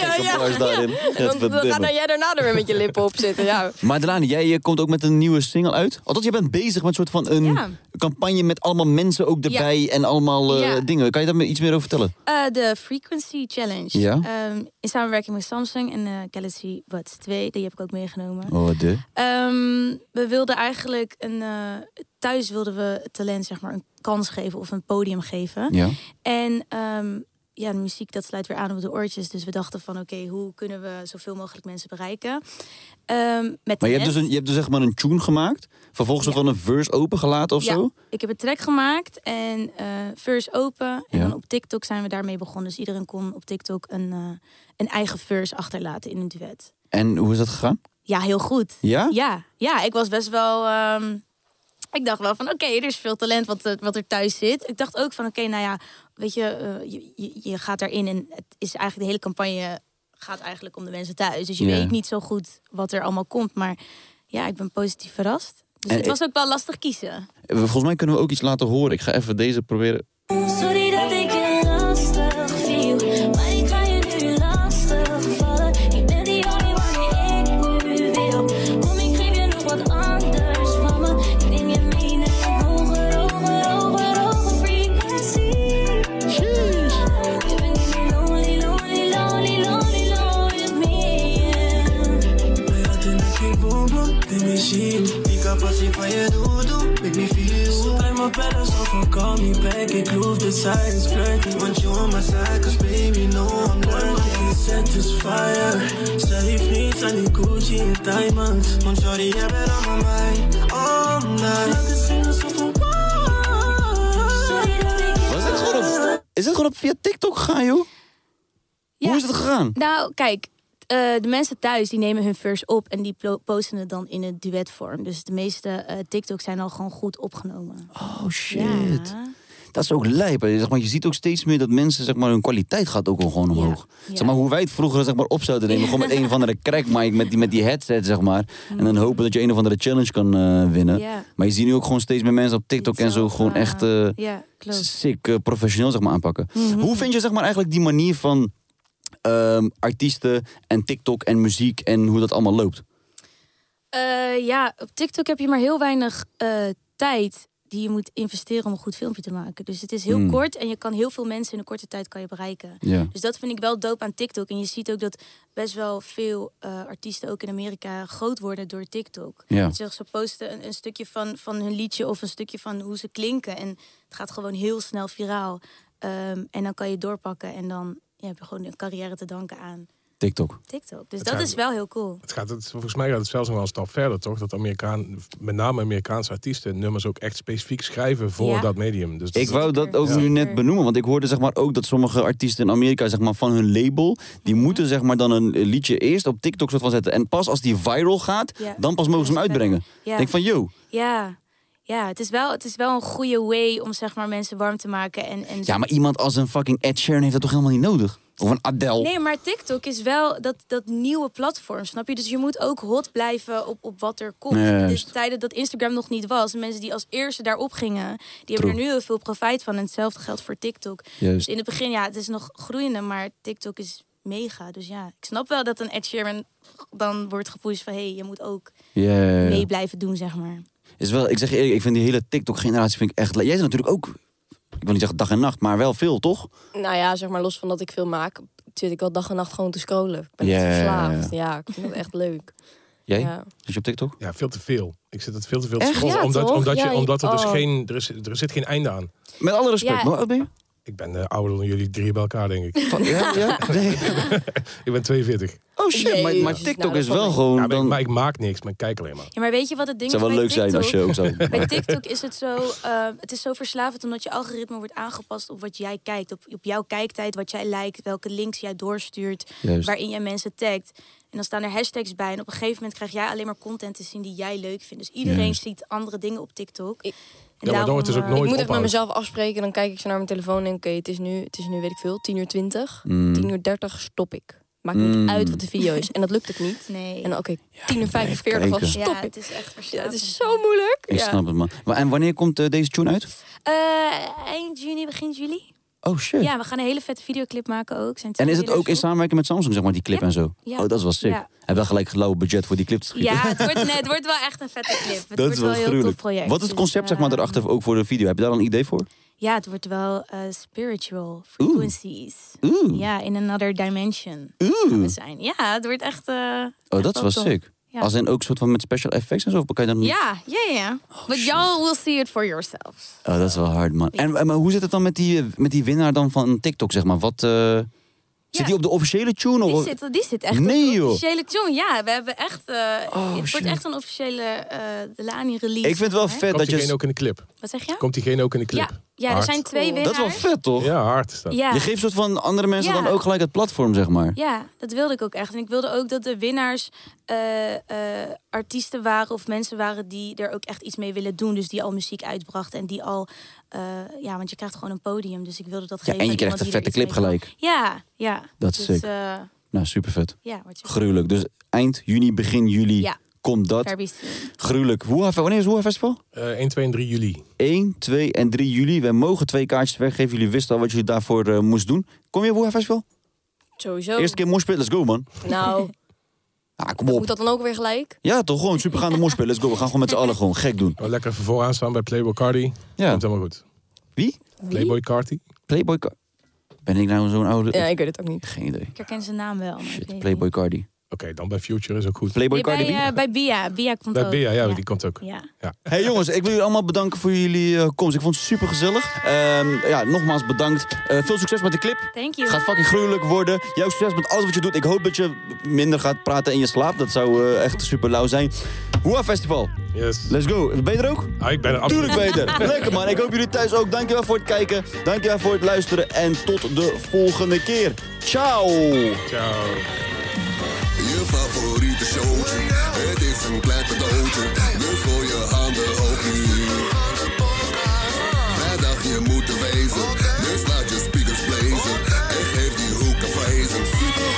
Ja, ja. bars daarin. Dan, dan Gadverdamme. ga nou jij daarna er weer met je lippen op zitten. Ja. Maar Delane, jij eh, komt ook met een nieuwe single uit. Althans, je bent bezig met een soort van een Ja. campagne met allemaal mensen ook erbij Ja. en allemaal eh, Ja. dingen. Kan je daar me iets meer over vertellen? Eh, de Frequency Challenge. Ja. Ehm, in samenwerking met Samsung en eh, Galaxy Buds 2. Die heb ik ook meegenomen. Oh, de. Ehm, we wilden eigenlijk een... eh, thuis wilden we het talent zeg maar een kans geven of een podium geven. Ja. En ehm, ja, de muziek dat sluit weer aan op de oortjes. Dus we dachten van oké, hoe kunnen we zoveel mogelijk mensen bereiken? Ehm, met Maar je talent. hebt, dus een, je hebt dus zeg maar een tune gemaakt. Vervolgens van een verse opengelaten of Ja, zo. Ik heb een track gemaakt en eh verse open. En Ja. dan op TikTok zijn we daarmee begonnen. Dus iedereen kon op TikTok een, eh, een eigen verse achterlaten in een duet. En hoe is dat gegaan? Ja, heel goed. Ja? Ja, ja ik was best wel... ehm, ik dacht wel van, oké, er is veel talent wat, eh, wat er thuis zit. Ik dacht ook van, oké, nou ja, weet je, eh, je, je, je gaat daarin en het is eigenlijk de hele campagne gaat eigenlijk om de mensen thuis. Dus je Ja. weet niet zo goed wat er allemaal komt. Maar ja, ik ben positief verrast. Dus En het ik- was ook wel lastig kiezen. Volgens mij kunnen we ook iets laten horen. Ik ga even deze proberen. Sorry dat ik je lastig viel, maar ik ga je nu lastig vallen. Ik ben die jongen wanneer ik nu wil. Kom, ik geef je nog wat anders van me. Ik neem je mee naar een hoger, hoger, hoger, hoger frequency. Je bent niet meer lonely, lonely, lonely, lonely, lonely with me. Hey, boom, boom, baby, she you. Pick up a sip of your doo-doo, make me feel you. I'm a better so phone, call me back. Ik loof the silence, flirty. Want you on my side, cause baby, no, I'm learning. Set is fire. Ze heeft niets aan die Gucci en diamonds. Want sorry, jij bent on my mind. All night. Laat het zien alsof we Was dit gewoon op, is dit gewoon op via TikTok gegaan, joh? Hoe is het gegaan? Nou, kijk, eh, de mensen thuis die nemen hun verse op en die plo- posten het dan in een duetvorm. Dus de meeste eh TikToks zijn al gewoon goed opgenomen. Oh shit. Dat is ook lijp. hè. Zeg maar, je ziet ook steeds meer dat mensen, zeg maar, hun kwaliteit gaat ook wel gewoon omhoog. Zeg maar, hoe wij het vroeger zeg maar, op zouden nemen. Gewoon met een of andere crackmic, met die, met die headset, zeg maar. En dan hopen dat je een of andere challenge kan eh, winnen. Ja. Maar je ziet nu ook gewoon steeds meer mensen op TikTok en zo gewoon echt eh, Ja, klopt. Mhm. sick eh, professioneel zeg maar, aanpakken. Hoe vind je zeg maar, eigenlijk die manier van ehm, artiesten en TikTok en muziek en hoe dat allemaal loopt? Eh, ja, op TikTok heb je maar heel weinig eh, tijd die je moet investeren om een goed filmpje te maken. Dus het is heel Hmm. kort en je kan heel veel mensen in een korte tijd kan je bereiken. Ja. Dus dat vind ik wel dope aan TikTok. En je ziet ook dat best wel veel eh, artiesten ook in Amerika groot worden door TikTok. Ja. Dus Ze, ze posten een, een stukje van, van hun liedje of een stukje van hoe ze klinken. En het gaat gewoon heel snel viraal. Ehm, en dan kan je doorpakken en dan ja, heb je gewoon een carrière te danken aan TikTok. TikTok. Dus Het dat zijn- is wel heel cool. Het gaat, het, volgens mij gaat het zelfs nog wel een stap verder, toch? Dat Amerikaan, met name Amerikaanse artiesten nummers ook echt specifiek schrijven voor Ja. dat medium. Dus Ik wou dat ook nu net benoemen, want ik hoorde zeg maar ook dat sommige artiesten in Amerika zeg maar, van hun label, die Mhm. moeten zeg maar dan een liedje eerst op TikTok soort van zetten. En pas als die viral gaat, Ja. dan pas mogen ze hem uitbrengen. Ja. Denk van, yo, Ja, ja het, is wel, het is wel een goede way om zeg maar, mensen warm te maken. En, en ja maar iemand als een fucking Ed Sheeran heeft dat toch helemaal niet nodig? Of een Adele? Nee, maar TikTok is wel dat, dat nieuwe platform, snap je? Dus je moet ook hot blijven op, op wat er komt. Ja, Dus juist. tijden dat Instagram nog niet was, de mensen die als eerste daarop gingen, die hebben True. er nu heel veel profijt van. En hetzelfde geldt voor TikTok. Juist. Dus in het begin, ja, het is nog groeiende, maar TikTok is mega. Dus ja, ik snap wel dat een Ed Sheeran dan wordt gepusht van... hé, hey, je moet ook Ja, ja, ja. mee blijven doen, zeg maar. Is wel, ik zeg je eerlijk, ik vind die hele TikTok-generatie vind ik echt... le- Jij zit natuurlijk ook, ik wil niet zeggen dag en nacht, maar wel veel, toch? Nou ja, zeg maar los van dat ik veel maak, zit ik wel dag en nacht gewoon te scrollen. Ik ben Ja, echt ja, ja, verslaafd. Ja, ik vind dat echt leuk. Jij? Ja. Zit je op TikTok? Ja, veel te veel. Ik zit het veel te veel te Echt? scrollen. Ja, omdat, toch? omdat, Ja, je, je- omdat er dus oh. geen, er, is, er zit geen einde aan. Met alle respect, Ja. maar hoe oud ben je? Ik ben eh, ouder dan jullie drie bij elkaar, denk ik. Ja, ja. ik ben 42. Oh shit, Jezus, maar, maar nou, TikTok dat is valt wel mee. gewoon... Ja, maar, ik, dan... maar ik maak niks, maar ik kijk alleen maar. Ja, maar weet je wat het ding Het zou is wel bij leuk zijn als je TikTok? ook zo- Bij TikTok is het zo, eh, het is zo verslavend omdat je algoritme wordt aangepast op wat jij kijkt, op, op jouw kijktijd, wat jij lijkt, welke links jij doorstuurt, Juist. waarin jij mensen tagt. En dan staan er hashtags bij en op een gegeven moment krijg jij alleen maar content te zien die jij leuk vindt. Dus iedereen Juist. ziet andere dingen op TikTok. En maar dan wordt het dus ook eh, nooit ik moet echt met ophouden. mezelf afspreken. Dan kijk ik zo naar mijn telefoon en denk, oké, het is nu, het is nu, weet ik veel, 10 uur 20. Mm. 10 uur 30 stop ik. Maakt Mm. niet uit wat de video is. En dat lukt ook niet. Nee. En dan, oké, 10 uur 45, kijken. dan stop Ja, ik. het is echt verslavend. het is zo moeilijk. Ik Ja. snap het, man. Maar, en wanneer komt eh, deze tune uit? Eh, eind juni, begin juli. Oh shit. Ja, we gaan een hele vette videoclip maken ook. Zijn twee En is het trailers ook in op. samenwerking met Samsung, zeg maar, die clip en zo? Ja. Oh, dat is wel sick. Ja. Hebben we gelijk lauw budget voor die clip te schieten? Ja, het wordt, nee, het wordt wel echt een vette clip. Het dat wordt is wel een heel tof gruwelijk. project. Wat is het Dus, concept, zeg maar, eh, daarachter ook voor de video? Heb je daar al een idee voor? Ja, het wordt wel eh, spiritual frequencies. Oeh. Ja, in another dimension gaan we Oeh. zijn. Ja, het wordt echt. eh, Oh, echt dat is wel tof. sick. Ja. Als in ook soort van met special effects en zo? Of kan je dan... Ja, ja, ja, ja. But y'all will see it for yourselves. Oh, dat is wel hard, man. En, en maar hoe zit het dan met die, eh, met die winnaar dan van TikTok, zeg maar? Wat, eh, Zit die op de officiële tune? Die of- zit, die zit echt Oh, op Nee, de joh. Oh, officiële tune. Ja, we hebben echt. eh, het shit. wordt echt een officiële eh Delani release. Ik vind het wel Hè? vet Komt dat je... diegene ook in de clip? Wat zeg je? Komt diegene ook in de clip? Ja, ja er zijn twee Dat is winnaars. wel vet, toch? Ja, hard is dat. Ja. Je geeft soort van andere mensen Ja. dan ook gelijk het platform, zeg maar. Ja, dat wilde ik ook echt. En ik wilde ook dat de winnaars eh, eh, artiesten waren of mensen waren die er ook echt iets mee willen doen. Dus die al muziek uitbrachten en die al. eh, ja, want je krijgt gewoon een podium. Dus ik wilde dat Ja, geven. en je aan krijgt een iemand vette die er clip iets mee gelijk. kan. Ja, ja. Dat is dus, sick. eh, Nou, super vet. ja, wat je Gruwelijk. Dus eind juni, begin juli Ja. komt dat. Fair Beast. Gruwelijk. Hoe, wanneer is het Festival? Eh, 1, 2 en 3 juli. 1, 2 en 3 juli. Wij mogen twee kaartjes weggeven. Jullie wisten al wat jullie daarvoor eh, moest doen. Kom je op Woeha Festival? Sowieso. Eerste keer morspit, let's go man. Nou, Ah, kom moet op. dat dan ook weer gelijk? Ja toch, gewoon supergaande morspit, let's go. We gaan gewoon met z'n allen gewoon gek doen. Oh, lekker even vooraan staan bij Playboy Cardi. Ja. Komt helemaal goed. Wie? Playboy Cardi. Playboy Car- Ben ik nou zo'n oude... Ja, ik Oh, weet het ook niet. Geen idee. Ik herken zijn naam wel. maar ik weet het Playboy Cardi. Oké, dan bij Future is ook goed. Playboy niet. Cardi bij, B? eh, bij Bia. Bia komt ook. komt ook. Ja. eh- Hey jongens, ik wil jullie allemaal bedanken voor jullie eh, komst. Ik vond het super gezellig. ja, nogmaals bedankt. Eh, veel succes met de clip. Thank you. Gaat fucking gruwelijk worden. Jouw succes met alles wat je doet. Ik hoop dat je minder gaat praten in je slaap. Dat zou eh, echt super lauw zijn. Hoera Festival. Yes. Let's go. Ben je er ook? Ah, ik ben er absoluut. Tuurlijk ben je er. Lekker man. Ik hoop jullie thuis ook. Dankjewel voor het kijken. Dankjewel voor het luisteren. En tot de volgende keer. Ciao. Ciao. Je favoriete showtje, het is een klein cadeautje, dus gooi je handen hoog nu. Vrijdag, je moet er wezen. verhezen. Zoeken